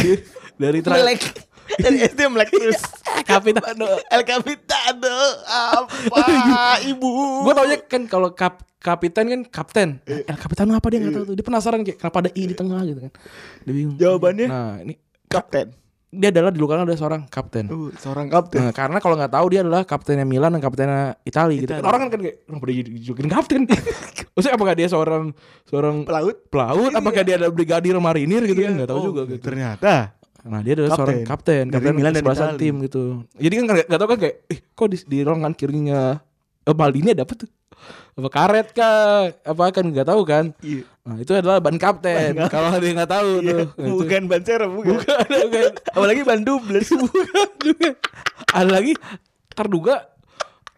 Speaker 2: dari tra-
Speaker 4: melek Iya. dari SD melek terus
Speaker 2: Capitano
Speaker 4: El Capitano apa ibu
Speaker 2: gue taunya kan kalau kap kapiten kan kapten Nah, el kapitano apa dia nggak tahu tuh dia penasaran kayak kenapa ada i di tengah gitu kan dia bingung
Speaker 4: Jawabannya?
Speaker 2: nah ini
Speaker 4: kapten
Speaker 2: dia adalah dilukakan oleh seorang kapten
Speaker 4: uh, seorang kapten
Speaker 2: Nah, karena kalau nggak tahu dia adalah kaptennya Milan dan kaptennya Itali gitu kan.
Speaker 4: Itali.
Speaker 2: Orang kan kan kayak kenapa dia dijulukin kapten? Maksudnya apakah dia seorang seorang
Speaker 4: pelaut
Speaker 2: pelaut? Apakah dia ada brigadir marinir gitu kan? Nggak tahu
Speaker 4: Iya. Oh,
Speaker 2: juga gitu.
Speaker 4: ternyata
Speaker 2: Nah dia adalah seorang
Speaker 4: Kapten.
Speaker 2: kapten
Speaker 4: Dari
Speaker 2: Kapten
Speaker 4: Milan dan
Speaker 2: kesebelasan
Speaker 4: Itali.
Speaker 2: tim gitu Jadi kan gak, tau kan kayak Ih kok di, di ruangan kirinya eh, Maldini ada apa tuh Apa karet kah Apa kan gak tahu kan
Speaker 4: Iya.
Speaker 2: Nah itu adalah ban kapten Kalau ada yang gak tahu tuh kan. Nah, itu.
Speaker 4: bukan ban serep gitu. bukan.
Speaker 2: Bukan, bukan.
Speaker 4: apalagi ban dubles
Speaker 2: Bukan, bukan. Ada lagi Terduga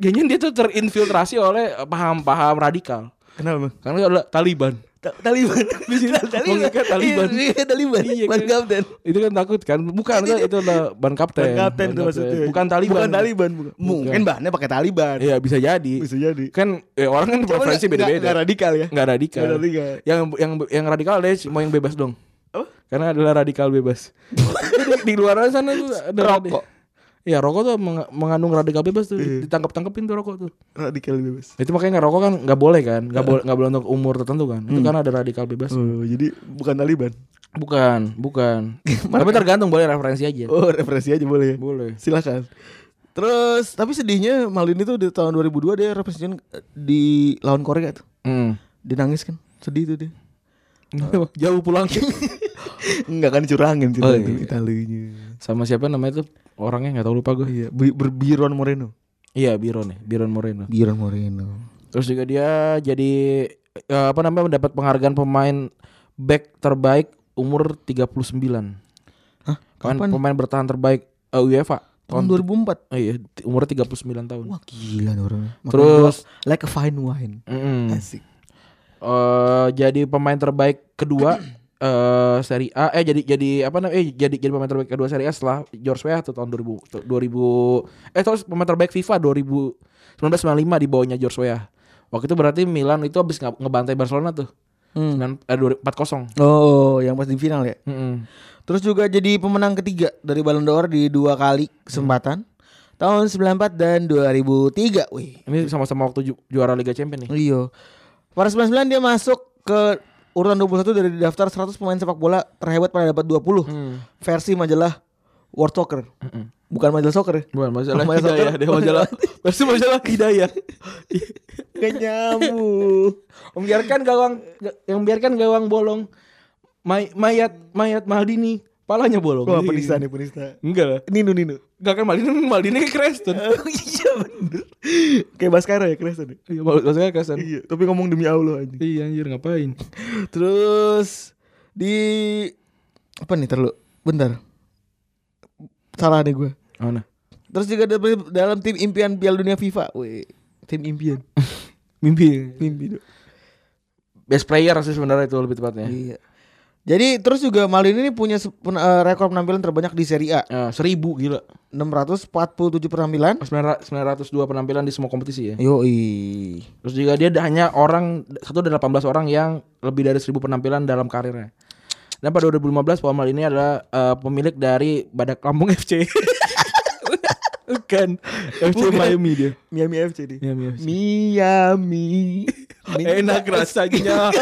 Speaker 2: Jangan dia tuh terinfiltrasi oleh paham-paham radikal
Speaker 4: kenapa bang
Speaker 2: Karena dia adalah Taliban
Speaker 4: Ta- Taliban di sini
Speaker 2: mengikat Taliban.
Speaker 4: Taliban
Speaker 2: Iya,
Speaker 4: ban
Speaker 2: kan.
Speaker 4: kapten
Speaker 2: itu kan takut kan bukan itu, itu adalah ban kapten
Speaker 4: ban kapten itu maksudnya
Speaker 2: bukan Taliban
Speaker 4: bukan Taliban bukan. mungkin bannya pakai Taliban
Speaker 2: Iya bisa jadi.
Speaker 4: bisa jadi
Speaker 2: Kan eh, orang kan
Speaker 4: Cuman
Speaker 2: preferensi
Speaker 4: nggak- nggak
Speaker 2: beda-beda.
Speaker 4: radikal ya
Speaker 2: Nggak radikal.
Speaker 4: Nggak radikal.
Speaker 2: Yang yang yang radikal deh mau yang bebas dong.
Speaker 4: Apa?
Speaker 2: Karena adalah radikal bebas. Jadi di luar sana tuh ada
Speaker 4: Rokok.
Speaker 2: Iya rokok tuh meng- mengandung radikal bebas tuh
Speaker 4: Iya.
Speaker 2: ditangkap-tangkepin tuh rokok tuh.
Speaker 4: radikal bebas
Speaker 2: Itu makanya nggak rokok kan nggak boleh kan, nggak boleh nggak boleh untuk umur tertentu kan. Itu karena ada radikal bebas.
Speaker 3: Hmm.
Speaker 4: oh jadi bukan Taliban
Speaker 2: Bukan, bukan. Tapi tergantung boleh referensi aja.
Speaker 4: oh referensi aja boleh ya
Speaker 2: Boleh.
Speaker 4: silakan
Speaker 3: Terus tapi sedihnya Maldini tuh di tahun 2002 dia represent di lawan Korea tuh.
Speaker 2: Hmm.
Speaker 3: Dia nangis kan. Sedih tuh dia.
Speaker 2: Jauh pulang
Speaker 4: Enggak kan curangin sih
Speaker 2: Oh,
Speaker 4: Taliban
Speaker 2: iya.
Speaker 4: Italinya.
Speaker 2: sama siapa namanya tuh orangnya nggak tahu lupa gue.
Speaker 4: Iya, Bi- berbiron Moreno.
Speaker 2: Iya Biron ya, Biron Moreno.
Speaker 3: Biron Moreno.
Speaker 2: Terus juga dia jadi eh, apa namanya mendapat penghargaan pemain back terbaik umur 39.
Speaker 3: Hah?
Speaker 2: Pemain,
Speaker 3: Kapan?
Speaker 2: pemain bertahan terbaik eh, UEFA
Speaker 3: Tahun
Speaker 2: tahun
Speaker 3: 2004.
Speaker 2: oh iya, t- umurnya 39 tahun.
Speaker 3: Wah gila nih orangnya. Makan
Speaker 2: Terus
Speaker 3: dua, like a fine wine.
Speaker 2: mm,
Speaker 4: Asik.
Speaker 2: eh, jadi pemain terbaik kedua eh Serie A eh jadi jadi apa namanya eh jadi jadi pemain terbaik kedua Serie A setelah George Weah tuh tahun 2000 tu- 2000 eh terus pemain terbaik FIFA 2000 1995 di bawahnya George Weah. Waktu itu berarti Milan itu habis nge- ngebantai Barcelona tuh. Sembilan- eh, dua- 4-0.
Speaker 3: Oh, yang pas di final ya.
Speaker 2: Mm-mm.
Speaker 3: Terus juga jadi pemenang ketiga dari Ballon d'Or di dua kali kesempatan. Tahun 94 dan 2003. Wih.
Speaker 2: Ini sama-sama waktu ju- juara Liga Champions nih.
Speaker 3: Iya. Pada 99 dia masuk ke urutan 21 dari daftar 100 pemain sepak bola terhebat pada dapat 20 versi majalah World Soccer. Bukan majalah soccer. ya.
Speaker 2: Bukan majalah
Speaker 3: Majalah
Speaker 2: hidayah,
Speaker 3: soccer.
Speaker 2: dia majalah. Pasti majalah hidayah.
Speaker 3: Gak nyambung.
Speaker 2: Membiarkan gawang ga- yang membiarkan gawang bolong. May- mayat mayat Maldini palanya bolong.
Speaker 3: Wah, penista nih penista.
Speaker 2: Enggak lah.
Speaker 3: Nino Nino.
Speaker 2: Enggak kan Maldini Maldini kayak Creston.
Speaker 3: iya bener. Kayak Baskara ya keras tadi.
Speaker 2: Iya, maksudnya Creston.
Speaker 3: Iya, tapi ngomong demi Allah anjing.
Speaker 2: Iya anjir ngapain?
Speaker 3: Terus di apa nih terlalu bentar. Salah nih gue.
Speaker 2: Mana?
Speaker 3: Terus juga ada- dalam tim impian Piala Dunia FIFA. Wih, tim impian.
Speaker 2: Mimpi.
Speaker 3: Mimpi dong.
Speaker 2: Best player sih sebenarnya itu lebih tepatnya.
Speaker 3: Iya. Jadi terus juga Maldini ini punya se- pen- eh, rekor penampilan terbanyak di Serie A.
Speaker 2: Eh, seribu gila.
Speaker 3: 647 penampilan.
Speaker 2: 900 902 penampilan di semua kompetisi ya.
Speaker 3: Yoi.
Speaker 2: Terus juga dia ada hanya orang satu dari 18 orang yang lebih dari 1000 penampilan dalam karirnya. Dan pada 2015 Paul Maldini adalah eh, pemilik dari Badak Lampung FC. Bukan. FC Miami dia.
Speaker 3: Miami FC nih.
Speaker 2: Miami FC.
Speaker 3: Miami.
Speaker 2: Enak rasanya.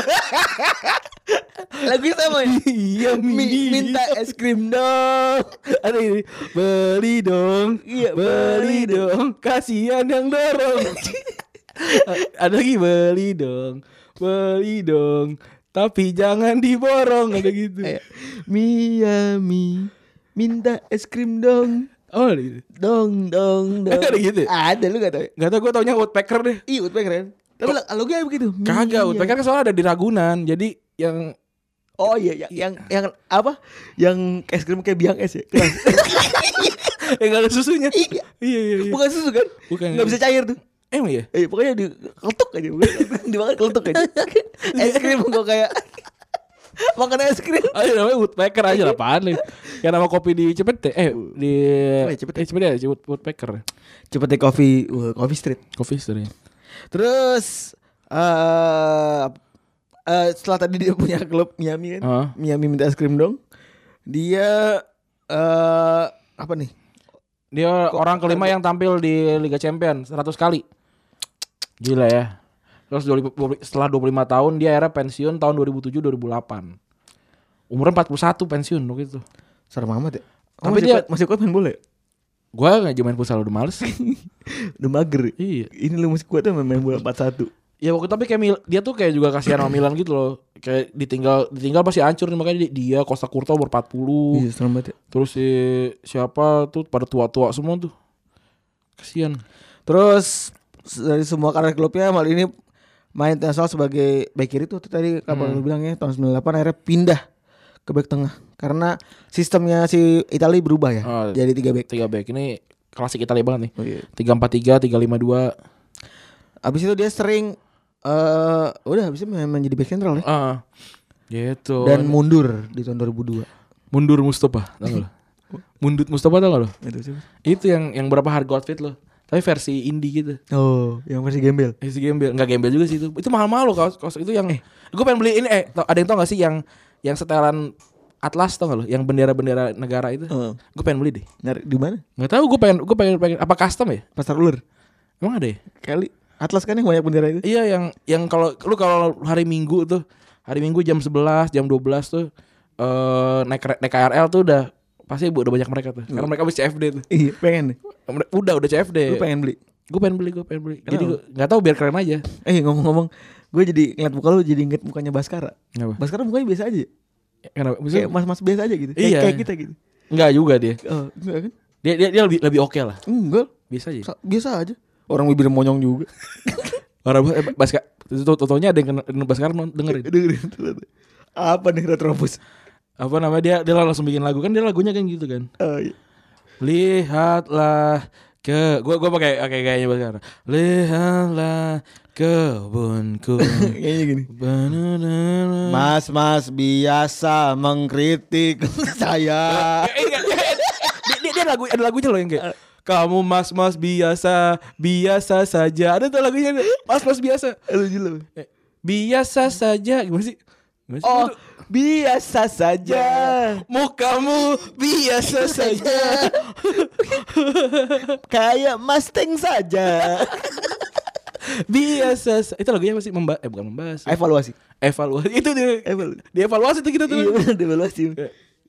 Speaker 3: Lagu sama ya?
Speaker 2: Iya, Mi.
Speaker 3: Mi- minta es krim dong.
Speaker 2: Ada ini beli dong,
Speaker 3: Iya,
Speaker 2: beli,
Speaker 3: beli
Speaker 2: dong. Kasihan yang dorong. A- ada lagi beli dong, beli dong. Tapi jangan diborong ada gitu.
Speaker 3: Eh, Miami. Minta es krim dong.
Speaker 2: Oh, ada gitu.
Speaker 3: Dong dong dong.
Speaker 2: Ada gitu ya?
Speaker 3: Ada lu gak tau ya?
Speaker 2: Gak tau gue taunya Woodpecker deh.
Speaker 3: Iya, Utpe keren. Tapi lagunya begitu.
Speaker 2: Kagak,
Speaker 3: Miami.
Speaker 2: Woodpecker kan soalnya ada di Ragunan. Jadi yang
Speaker 3: Oh iya, yang yang, yang apa? Yang es krim kayak biang es ya. Keras.
Speaker 2: yang gak ada susunya.
Speaker 3: Iya.
Speaker 2: iya, iya. iya.
Speaker 3: Bukan susu kan?
Speaker 2: Bukan.
Speaker 3: Nggak bisa cair tuh.
Speaker 2: Emang ya?
Speaker 3: Eh, pokoknya di keletuk aja, bukan. dimakan keletuk aja. es krim kok kayak makan es krim.
Speaker 2: Ayo Ah, iya, namanya Woodpecker aja lah apaan nih. Kayak nama kopi di Cipete. Eh, di
Speaker 3: Oh, iya, Cipete.
Speaker 2: eh, Cipete ada Wood- Woodpecker.
Speaker 3: Cepet deh coffee, wah, coffee street.
Speaker 2: Coffee Store ya.
Speaker 3: Terus eh eh, setelah tadi dia punya klub Miami kan.
Speaker 2: Heeh.
Speaker 3: Miami minta es krim dong. Dia eh apa nih?
Speaker 2: Dia orang kelima yang tampil di Liga Champions 100 kali. Gila ya. Terus 25 setelah 25 tahun dia era pensiun tahun 2007 2008. Umurnya 41 pensiun waktu itu.
Speaker 3: Serem amat ya.
Speaker 2: Tapi
Speaker 3: Tapi masih
Speaker 2: dia-
Speaker 3: kuat, masih kuat main bola ya?
Speaker 2: Gua enggak main futsal udah males.
Speaker 3: Udah mager. ya?
Speaker 2: iya.
Speaker 3: Ini lu masih kuat sama main bola 41.
Speaker 2: Ya waktu itu tapi kayak Mil- dia tuh kayak juga kasihan sama Milan gitu loh. Kayak ditinggal ditinggal pasti hancur nih, makanya di- dia Costa Curta umur 40.
Speaker 3: Iya, serem banget. ya.
Speaker 2: Terus si siapa tuh pada tua-tua semua tuh. Kasihan.
Speaker 3: Terus s- dari semua karir klubnya malah ini main internasional sebagai back kiri tuh, tuh tadi kapan lu bilang ya tahun 98 akhirnya pindah ke back tengah karena sistemnya si Italia berubah ya.
Speaker 2: Oh,
Speaker 3: jadi tiga back.
Speaker 2: Tiga back ini klasik Italia banget nih.
Speaker 3: Oh, iya.
Speaker 2: 343, 352.
Speaker 3: Abis itu dia sering eh udah habis itu main menjadi back sentral ya.
Speaker 2: Ah. Gitu.
Speaker 3: Dan mundur di tahun 2002.
Speaker 2: mundur Mustafa, tau gak lo? Mundut Mustafa tau gak lo?
Speaker 3: Itu siapa?
Speaker 2: Itu yang yang berapa harga outfit lo? Tapi versi indie gitu.
Speaker 3: Oh, yang versi gembel.
Speaker 2: Versi Eh, gembel, enggak gembel juga sih itu. Itu mahal-mahal lo kaos, kaos itu yang gue pengen beli ini eh tau- ada yang tau gak sih yang yang setelan Atlas tau gak lo? Yang bendera-bendera negara itu.
Speaker 3: Heeh.
Speaker 2: Gue pengen beli deh.
Speaker 3: Nyari di mana?
Speaker 2: Gak tau gue pengen gue pengen pengen apa custom ya?
Speaker 3: Pasar Ulur.
Speaker 2: Emang ada ya?
Speaker 3: Kali Atlas kan yang banyak bendera itu.
Speaker 2: Iya yang yang kalau lu kalau hari Minggu tuh hari Minggu jam 11 jam 12 tuh eh naik kere- naik KRL tuh udah pasti bu- udah banyak mereka tuh karena mereka habis CFD tuh
Speaker 3: Iya, pengen nih.
Speaker 2: udah udah CFD
Speaker 3: Lu pengen beli.
Speaker 2: gue pengen beli gue pengen beli jadi gue nggak tahu biar keren aja
Speaker 3: Eh ngomong-ngomong, gue jadi ngeliat muka lu jadi inget mukanya Baskara.
Speaker 2: Kenapa?
Speaker 3: Baskara mukanya biasa aja.
Speaker 2: kenapa Maksudnya,
Speaker 3: Kayak mas-mas biasa aja gitu. Kayak,
Speaker 2: Iya.
Speaker 3: kayak kita gitu.
Speaker 2: nggak juga dia
Speaker 3: Oh, enggak kan?
Speaker 2: dia dia, dia lebih lebih oke lah
Speaker 3: Enggak.
Speaker 2: biasa aja
Speaker 3: sa- Biasa aja. Orang bibir monyong juga.
Speaker 2: orang eh, baska totonya ada yang kena baskar dengerin
Speaker 3: Dengerin tuh, tuh. Apa nih retrobus?
Speaker 2: apa namanya dia dia langsung bikin lagu kan dia lagunya kan gitu kan
Speaker 3: Oh, iya.
Speaker 2: Lihatlah ke gua gua pakai pakai gayanya Baskar. Lihatlah kebunku.
Speaker 3: Kayaknya gini.
Speaker 2: Banana.
Speaker 3: Mas-mas biasa mengkritik saya.
Speaker 2: Eh, enggak, dia, dia, dia lagu ada lagunya loh yang kayak Kamu mas-mas biasa, biasa saja. Ada tuh lagunya ada, mas-mas biasa.
Speaker 3: Lu gila. lu.
Speaker 2: Eh, Biasa saja gimana sih? Gimana sih?
Speaker 3: Oh, biasa saja.
Speaker 2: Mukamu biasa saja.
Speaker 3: Kayak Mustang saja.
Speaker 2: biasa sa- itu lagunya apa sih memba eh bukan membahas
Speaker 3: Evaluasi.
Speaker 2: evaluasi itu di,
Speaker 3: Evaluasi.
Speaker 2: dievaluasi tuh kita tuh
Speaker 3: Iya, bener, evaluasi.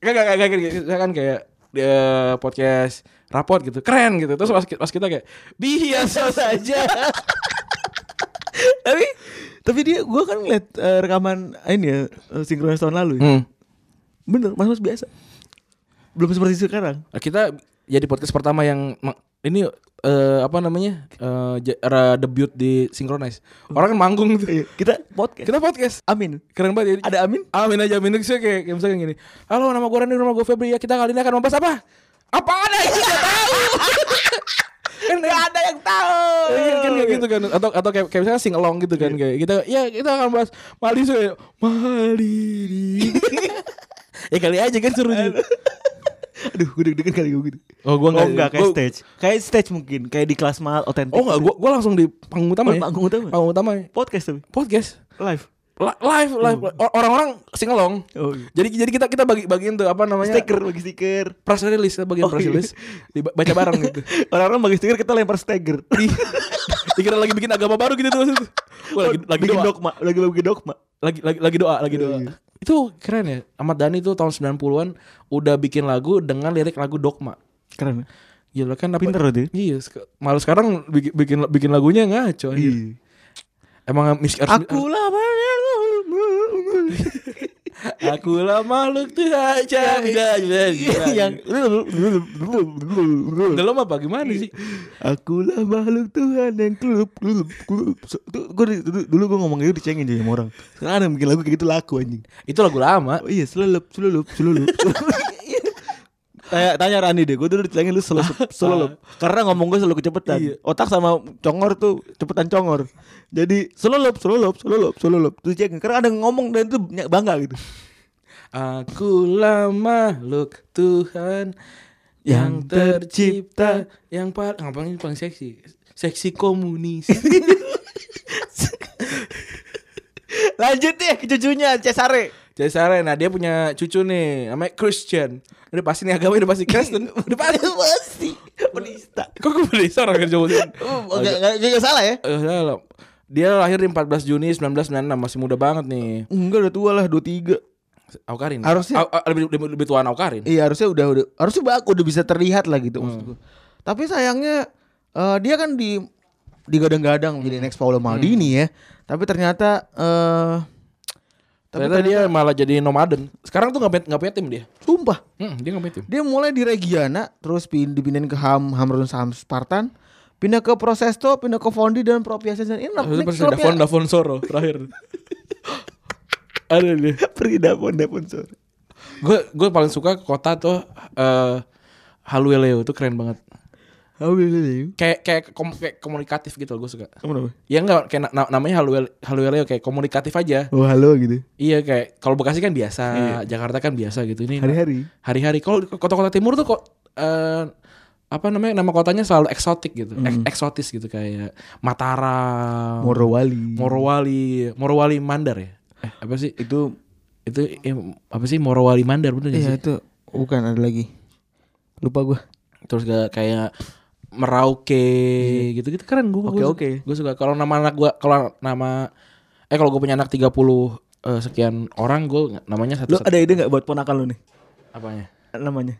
Speaker 2: Kayak kayak kayak kayak kita kan kayak eh, podcast rapot gitu keren gitu terus pas, pas kita kayak biasa saja
Speaker 3: tapi tapi dia gua kan ngeliat eh, rekaman eh, ini ya eh, sinkronis tahun lalu ya.
Speaker 2: hmm.
Speaker 3: Bener, mas mas biasa. Belum seperti sekarang.
Speaker 2: Nah, kita jadi podcast pertama yang meng- ini eh, apa namanya Eh, ja- ra- debut di synchronize orang kan manggung tuh
Speaker 3: Iya, kita podcast.
Speaker 2: kita podcast
Speaker 3: Amin.
Speaker 2: keren banget
Speaker 3: Ada Amin?
Speaker 2: Amin aja Amin itu kayak, kayak misalnya gini Halo nama gue Randy rumah gue Febri ya Kita kali ini akan membahas apa? Apaan aja gak tahu kan gak ada yang tahu kan, kan kayak gitu kan atau atau kayak, kayak misalnya sing along gitu kan kayak kita ya kita akan bahas Mali kayak Mali ya kali aja kan seru juga
Speaker 3: Aduh, gue deg-degan kali gue gitu.
Speaker 2: oh gue
Speaker 3: Oh enggak kayak stage. Kayak stage mungkin, kayak di kelas mahal otentik.
Speaker 2: oh enggak gue gue langsung di panggung utama
Speaker 3: Oh,
Speaker 2: ya
Speaker 3: panggung utama.
Speaker 2: panggung utama ya.
Speaker 3: podcast tapi
Speaker 2: podcast
Speaker 3: live.
Speaker 2: La- live live Or- orang-orang sing along
Speaker 3: Oh, iya.
Speaker 2: jadi jadi kita kita bagi bagiin tuh apa namanya
Speaker 3: Stiker bagi stiker.
Speaker 2: press release bagian
Speaker 3: Oh,
Speaker 2: press
Speaker 3: iya.
Speaker 2: release dibaca bareng gitu
Speaker 3: Orang-orang bagi stiker kita lempar stiker.
Speaker 2: Ih, dikira lagi bikin agama baru gitu tuh maksudnya. Wah, lagi, lagi
Speaker 3: Oh, Bikin
Speaker 2: doa
Speaker 3: dogma, lagi lagi dogma.
Speaker 2: lagi, lagi lagi doa lagi doa
Speaker 3: Iya.
Speaker 2: itu keren ya Ahmad Dhani tuh tahun 90-an udah bikin lagu dengan lirik lagu dogma
Speaker 3: Keren.
Speaker 2: gila kan apa
Speaker 3: Pinter loh dia.
Speaker 2: iya sek- malah sekarang bikin bikin, bikin lagunya ngaco anjir.
Speaker 3: Iya.
Speaker 2: emang mis- harus-
Speaker 3: Aku lah
Speaker 2: aku lah makhluk Tuhan
Speaker 3: Iya. Eh, yang
Speaker 2: yang dalam apa gimana sih
Speaker 3: akulah makhluk Tuhan yang klub klub klub So- tuh gue di- dulu, dulu gue ngomong gitu dicengin jadi sama orang sekarang ada yang bikin lagu kayak gitu laku anjing
Speaker 2: itu lagu lama
Speaker 3: oh, iya selelup selelup selelup tanya tanya Rani deh gue dulu dicengin lu selelup selelup karena ngomong gue selalu kecepetan
Speaker 2: Iya.
Speaker 3: otak sama congor tuh cepetan congor jadi selelup selelup selelup selelup tuh dicengin karena ada yang ngomong dan tuh bangga gitu
Speaker 2: Akulah makhluk Tuhan yang tercipta yang par ah, ngapain paling seksi seksi komunis
Speaker 3: lanjut deh ke cucunya Cesare
Speaker 2: jadi Sarah nah dia punya cucu nih namanya Christian udah pasti nih agama udah pasti Kristen udah pasti
Speaker 3: pasti penista
Speaker 2: kok gue beli seorang yang jauh
Speaker 3: Oh, enggak, enggak, enggak, enggak salah ya?
Speaker 2: Eh, dia lahir di 14 Juni 1996 masih muda banget nih
Speaker 3: Enggak udah tua lah 23
Speaker 2: Aukarin
Speaker 3: Harusnya-
Speaker 2: Au- au- lebih, lebih, lebih tuaan Aukarin
Speaker 3: Iya harusnya udah udah harusnya bak udah bisa terlihat lah gitu maksud gua. Tapi sayangnya eh, dia kan di digadang-gadang jadi next Paolo Maldini ya. Tapi ternyata eh tapi
Speaker 2: ternyata dia malah jadi nomaden sekarang tuh nggak punya- nggak punya tim dia
Speaker 3: sumpah
Speaker 2: Hmm, dia nggak punya tim
Speaker 3: dia mulai di Reggiana terus pin- dipindahin ke Ham Hamrun Sam Spartan pindah ke Prosesto pindah ke Fondi dan Propiasen ini
Speaker 2: Terus
Speaker 3: ini
Speaker 2: pas
Speaker 3: klubnya-
Speaker 2: Nah, Davon Davon Soro terakhir. Ada dia.
Speaker 3: pergi Davon Davon sorry.
Speaker 2: Gue gue paling suka kota tuh eh Halueleo itu keren banget.
Speaker 3: How will you?
Speaker 2: Kayak kayak, kom- kayak komunikatif gitu gue suka.
Speaker 3: Kamu apa?
Speaker 2: Ya enggak kayak na- na- namanya Haluel Halueleo kayak komunikatif aja.
Speaker 3: Oh halo gitu.
Speaker 2: Iya kayak kalau Bekasi kan biasa, Jakarta kan biasa gitu. Ini
Speaker 3: Hari-hari.
Speaker 2: hari-hari kalau kota-kota timur tuh kok eh, apa namanya nama kotanya selalu eksotik gitu. Ek- eksotis gitu kayak Mataram,
Speaker 3: Hmm. Morowali.
Speaker 2: Morowali, Morowali Mandar ya. Eh, apa sih?
Speaker 3: itu
Speaker 2: itu eh, apa sih Morowali Mandar bener gak
Speaker 3: Iya
Speaker 2: sih?
Speaker 3: itu bukan ada lagi. Lupa gua.
Speaker 2: Terus gak kayak Merauke gitu-gitu keren gue.
Speaker 3: Oke, oke.
Speaker 2: Gue suka kalau nama anak gue kalau nama eh kalau gue punya anak 30 eh, sekian orang gue namanya
Speaker 3: Lu
Speaker 2: satu, satu
Speaker 3: ada ide nggak buat ponakan lu nih?
Speaker 2: apanya?
Speaker 3: Namanya?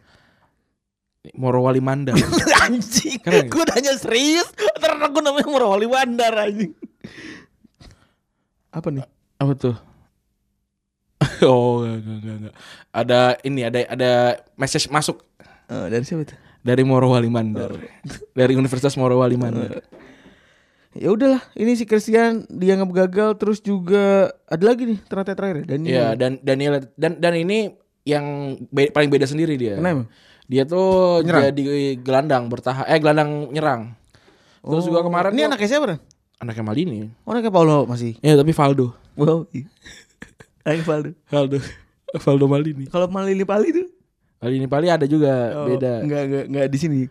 Speaker 2: Morowali Mandar.
Speaker 3: anjing.
Speaker 2: Keren nggak?
Speaker 3: Gua nanya serius. Ternyata gua namanya Morowali Wandar anjing. Apa nih?
Speaker 2: apa tuh? oh, enggak, enggak, enggak, enggak. Ada ini ada ada message masuk
Speaker 3: Eh, dari siapa tuh?
Speaker 2: dari Morowali Mandar. Dari Universitas Morowali Mandar.
Speaker 3: Ya udahlah, ini si Christian dianggap gagal terus juga ada lagi nih ternyata terakhir ya, Daniel.
Speaker 2: Iya, dan Daniel dan dan ini yang be- paling beda sendiri dia.
Speaker 3: Kenapa?
Speaker 2: Dia tuh
Speaker 3: Nyerang.
Speaker 2: jadi gelandang bertahan eh gelandang nyerang. Terus juga kemarin
Speaker 3: Oh. ini
Speaker 2: tuh-
Speaker 3: anaknya siapa? Ren?
Speaker 2: anaknya Maldini.
Speaker 3: Oh, anaknya Paulo masih.
Speaker 2: Ya, tapi Valdo.
Speaker 3: Wow. iya. Anaknya Valdo.
Speaker 2: Valdo. Valdo Maldini.
Speaker 3: Kalau Malili Pali tuh
Speaker 2: Maldini Pali ada juga
Speaker 3: oh,
Speaker 2: beda.
Speaker 3: Enggak enggak enggak di sini.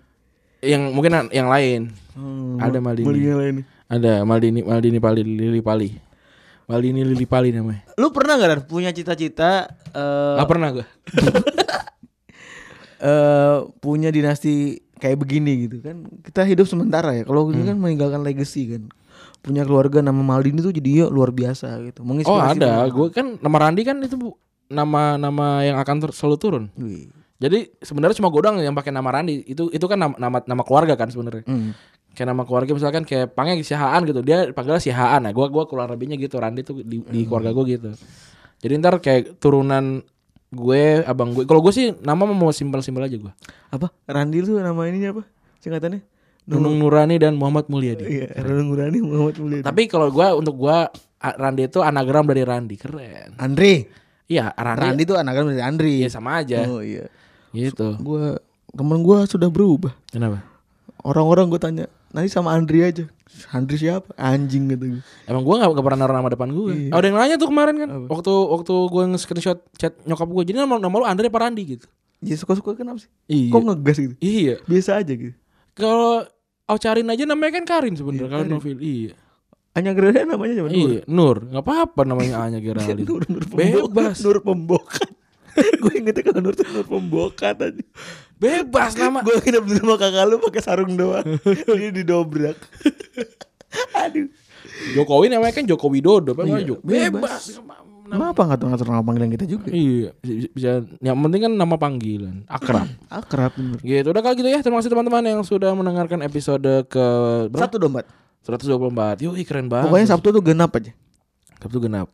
Speaker 2: yang mungkin yang lain.
Speaker 3: Hmm.
Speaker 2: ada Maldini.
Speaker 3: lain.
Speaker 2: Ada Maldini, Maldini Pali, Lili Pali. Maldini Lili Pali namanya.
Speaker 3: Lu pernah nggak Dan, punya cita-cita eh,
Speaker 2: Gak pernah gue.
Speaker 3: eh, punya dinasti kayak begini gitu kan? Kita hidup sementara ya. Kalau ini kan meninggalkan legacy kan. Punya keluarga nama Maldini tuh jadinya luar biasa gitu.
Speaker 2: Oh
Speaker 3: Menginspirasi
Speaker 2: ada,
Speaker 3: orang.
Speaker 2: gue kan nama Randi kan itu bu- nama-nama yang akan ter- selalu turun.
Speaker 3: Wih.
Speaker 2: Jadi sebenarnya cuma gue doang yang pakai nama Randi. Itu itu kan nama nama, nama keluarga kan sebenarnya.
Speaker 3: Hmm.
Speaker 2: Kayak nama keluarga misalkan kayak panggil si Haan gitu. Dia panggilnya si Haan. Nah, gua gua keluar lebihnya gitu. Randi tuh di, di keluarga gue gitu. Jadi ntar kayak turunan gue, abang gue. Kalau gue sih nama mau simpel-simpel aja gue.
Speaker 3: Apa? Randi tuh nama ininya apa? Singkatannya?
Speaker 2: Nunung Nurani dan Muhammad Mulyadi.
Speaker 3: Iya, Randi Rani Muhammad Mulia.
Speaker 2: Tapi kalau gua untuk gua A- Randi itu anagram dari Randi. Keren.
Speaker 3: Andre.
Speaker 2: Iya, Randi.
Speaker 3: Randi tuh anakan dari Andri.
Speaker 2: Iya sama aja.
Speaker 3: Oh iya.
Speaker 2: Gitu.
Speaker 3: Gua temen gua sudah berubah.
Speaker 2: Kenapa?
Speaker 3: Orang-orang gua tanya, nanti sama Andri aja. Andri siapa? Anjing gitu.
Speaker 2: Emang gua gak, pernah naruh nama depan gue Oh ada yang nanya tuh kemarin kan Waktu waktu gue nge-screenshot chat nyokap gue Jadi nama, nama lu Andre apa Randi gitu
Speaker 3: Ya suka-suka kenapa sih?
Speaker 2: Iya.
Speaker 3: Kok ngegas gitu?
Speaker 2: Iya
Speaker 3: Biasa aja gitu.
Speaker 2: Kalau Aucarin aja namanya kan Karin sebenernya Kalau novel Iya
Speaker 3: Hanya gerada namanya cuman Nur.
Speaker 2: Iya Nur Gak apa-apa namanya Anya Geraldine
Speaker 3: Nur, Nur Pembokat.
Speaker 2: Bebas
Speaker 3: Nur Pembokat. gue ingetnya kalau Nur tuh Nur Pembokat aja.
Speaker 2: Bebas nama
Speaker 3: Gue kira bener sama kakak lu pakai sarung doang. Dia didobrak. Aduh.
Speaker 2: Jokowi namanya kan Joko Widodo apa namanya
Speaker 3: Iya,
Speaker 2: Joko-
Speaker 3: bebas. Kenapa nggak tahu ngatur nama panggilan kita juga?
Speaker 2: Iya bisa- bisa, Yang penting kan nama panggilan Akrab
Speaker 3: Akrab bener.
Speaker 2: Gitu udah kalau gitu ya Terima kasih teman-teman yang sudah mendengarkan episode ke berapa?
Speaker 3: Satu dompet.
Speaker 2: 124 Yoi keren banget
Speaker 3: Pokoknya Iya. Sabtu tuh genap aja.
Speaker 2: Sabtu genap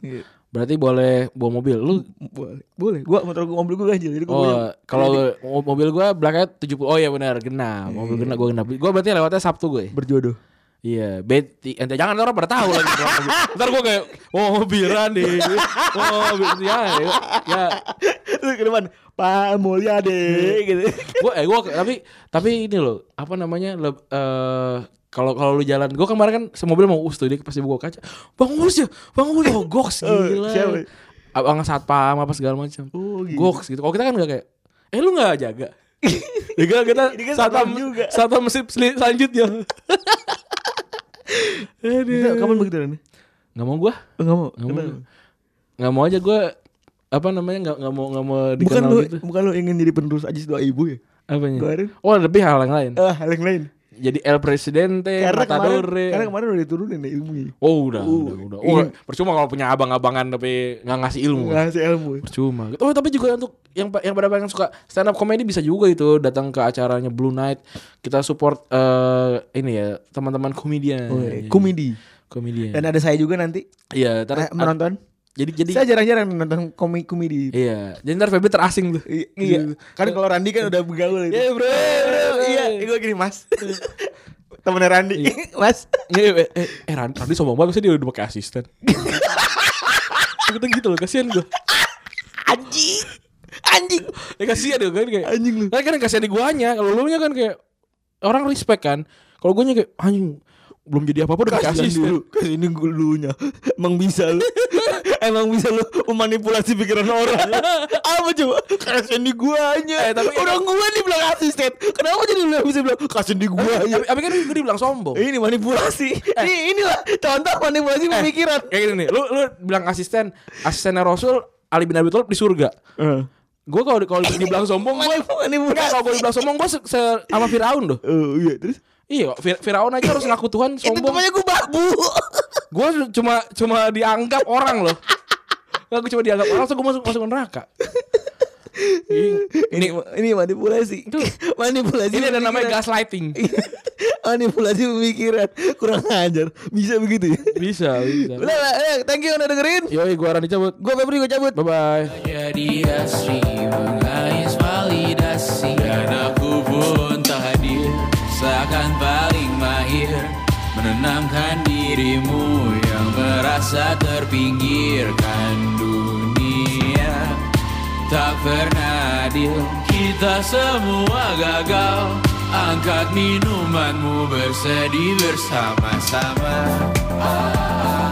Speaker 2: Berarti boleh bawa mobil. Lu
Speaker 3: Boleh. Boleh. Gua motor gua mobil gua ganjil jadi gua punya. Iya,
Speaker 2: oh, kalau mo- mobil gua belakangnya 70. Oh iya benar, genap. Mobil genap gua genap. Gua berarti lewatnya Sabtu gue.
Speaker 3: berjodoh.
Speaker 2: Iya, beti. Ente jangan ntar orang pada tahu lagi. Ntar mobil. Ntar gua kayak oh mobilan nih. Oh, mobil ya. Ya,
Speaker 3: Terus ke depan Pak Mulia deh gitu.
Speaker 2: gua eh gua tapi tapi ini loh, apa namanya? leb- eh kalau kalau lu jalan, gua kemarin kan semobil mau us tuh dia pasti buka kaca. Bang Us ya, Bang Us oh, goks gila.
Speaker 3: siapa?
Speaker 2: Abang satpam apa segala macam.
Speaker 3: Oh, gitu.
Speaker 2: Goks gitu. Kalau kita kan nggak kayak, eh lu nggak jaga. Juga kita
Speaker 3: Ini kan
Speaker 2: satpam
Speaker 3: satpam juga.
Speaker 2: satpam sip- sli- selanjutnya.
Speaker 3: Kita kapan begitu nih?
Speaker 2: Nggak mau gua,
Speaker 3: Enggak mau.
Speaker 2: nggak mau,
Speaker 3: Kenapa?
Speaker 2: nggak mau aja gua apa namanya nggak nggak mau nggak mau
Speaker 3: Bukan
Speaker 2: dikenal
Speaker 3: lu
Speaker 2: gitu.
Speaker 3: bukan lu ingin jadi penerus Ajis doa ibu ya?
Speaker 2: Apanya?
Speaker 3: Kemarin.
Speaker 2: Oh lebih hal yang lain.
Speaker 3: Ah, hal yang lain.
Speaker 2: Jadi El Presidente,
Speaker 3: Karena kemarin,
Speaker 2: Matadore.
Speaker 3: karena kemarin udah diturunin ya ilmunya.
Speaker 2: Oh udah,
Speaker 3: Uh,
Speaker 2: udah, udah.
Speaker 3: iya.
Speaker 2: Oh, percuma kalau punya abang-abangan tapi nggak ngasih ilmu.
Speaker 3: Ngasih ilmu. ya.
Speaker 2: Percuma. Oh tapi juga untuk yang yang pada pengen suka stand up comedy bisa juga itu datang ke acaranya Blue Night. Kita support eh ini ya teman-teman komedian.
Speaker 3: Komedi. Oh, iya. Dan
Speaker 2: Komedian.
Speaker 3: ada saya juga nanti
Speaker 2: Iya.
Speaker 3: eh,
Speaker 2: Ntar,
Speaker 3: menonton.
Speaker 2: jadi jadi.
Speaker 3: Saya jarang-jarang menonton komik komedi.
Speaker 2: Iya. Jadi ntar Febri terasing tuh.
Speaker 3: I- Iya. Kan kalau Randi kan udah begaul itu.
Speaker 2: Iya, bro.
Speaker 3: Iya, gue gini, Mas. Temennya Randi. Mas.
Speaker 2: Iya, eh, eh, eh Rand- Randy sombong banget sih dia udah pakai asisten. Kita gitu loh, kasihan gue.
Speaker 3: Anjing. Anjing.
Speaker 2: Ya kasihan ya kan kayak.
Speaker 3: Anjing lu.
Speaker 2: Kan kan yang kasihan di guanya, kalau lu nya kan kayak orang respect kan. Kalau guanya kayak anjing belum jadi apa-apa udah pakai
Speaker 3: Kasihan
Speaker 2: asisten.
Speaker 3: dulu. Kasihan ini dulunya. Emang bisa lu. Emang bisa lu memanipulasi pikiran orang. Apa coba? Kasihan
Speaker 2: Eh,
Speaker 3: di guanya. orang gua dibilang asisten. Kenapa jadi lu yang bisa bilang kasihan di guanya?
Speaker 2: Tapi Eh. kan gue dibilang sombong.
Speaker 3: ya?" Ini manipulasi. Ini inilah contoh
Speaker 2: Eh.
Speaker 3: manipulasi pemikiran.
Speaker 2: Kayak gini nih, lu lu bilang asisten, asistennya Rasul Ali bin Abi Thalib di surga. Gue kalau di- kalau dibilang sombong, gue
Speaker 3: Manipulasi.
Speaker 2: kalau gue dibilang sombong gue se, se- sama Firaun loh.
Speaker 3: Eh, iya, terus
Speaker 2: Iya, Fir- Firaun aja harus ngaku Tuhan sombong.
Speaker 3: gue babu.
Speaker 2: Gue cuma cuma dianggap orang loh. Gak gue cuma dianggap orang, so gue masuk masuk neraka.
Speaker 3: ini ini manipulasi.
Speaker 2: Tuh.
Speaker 3: manipulasi.
Speaker 2: Ini ada
Speaker 3: pemikiran. Iya.
Speaker 2: namanya gaslighting.
Speaker 3: manipulasi pemikiran. Kurang ajar. Bisa begitu ya.
Speaker 2: Bisa, bisa.
Speaker 3: Udah, lah, eh, thank you udah dengerin.
Speaker 2: Yoi, gue Randy cabut.
Speaker 3: Gue Febri, gue cabut.
Speaker 2: Bye bye.
Speaker 5: Jadi asri mengais validasi Dan aku pun tak hadir Seakan paling mahir Menenangkan dirimu yang merasa terpinggirkan dunia Tak pernah adil Kita semua gagal Angkat minumanmu bersedih bersama-sama ah.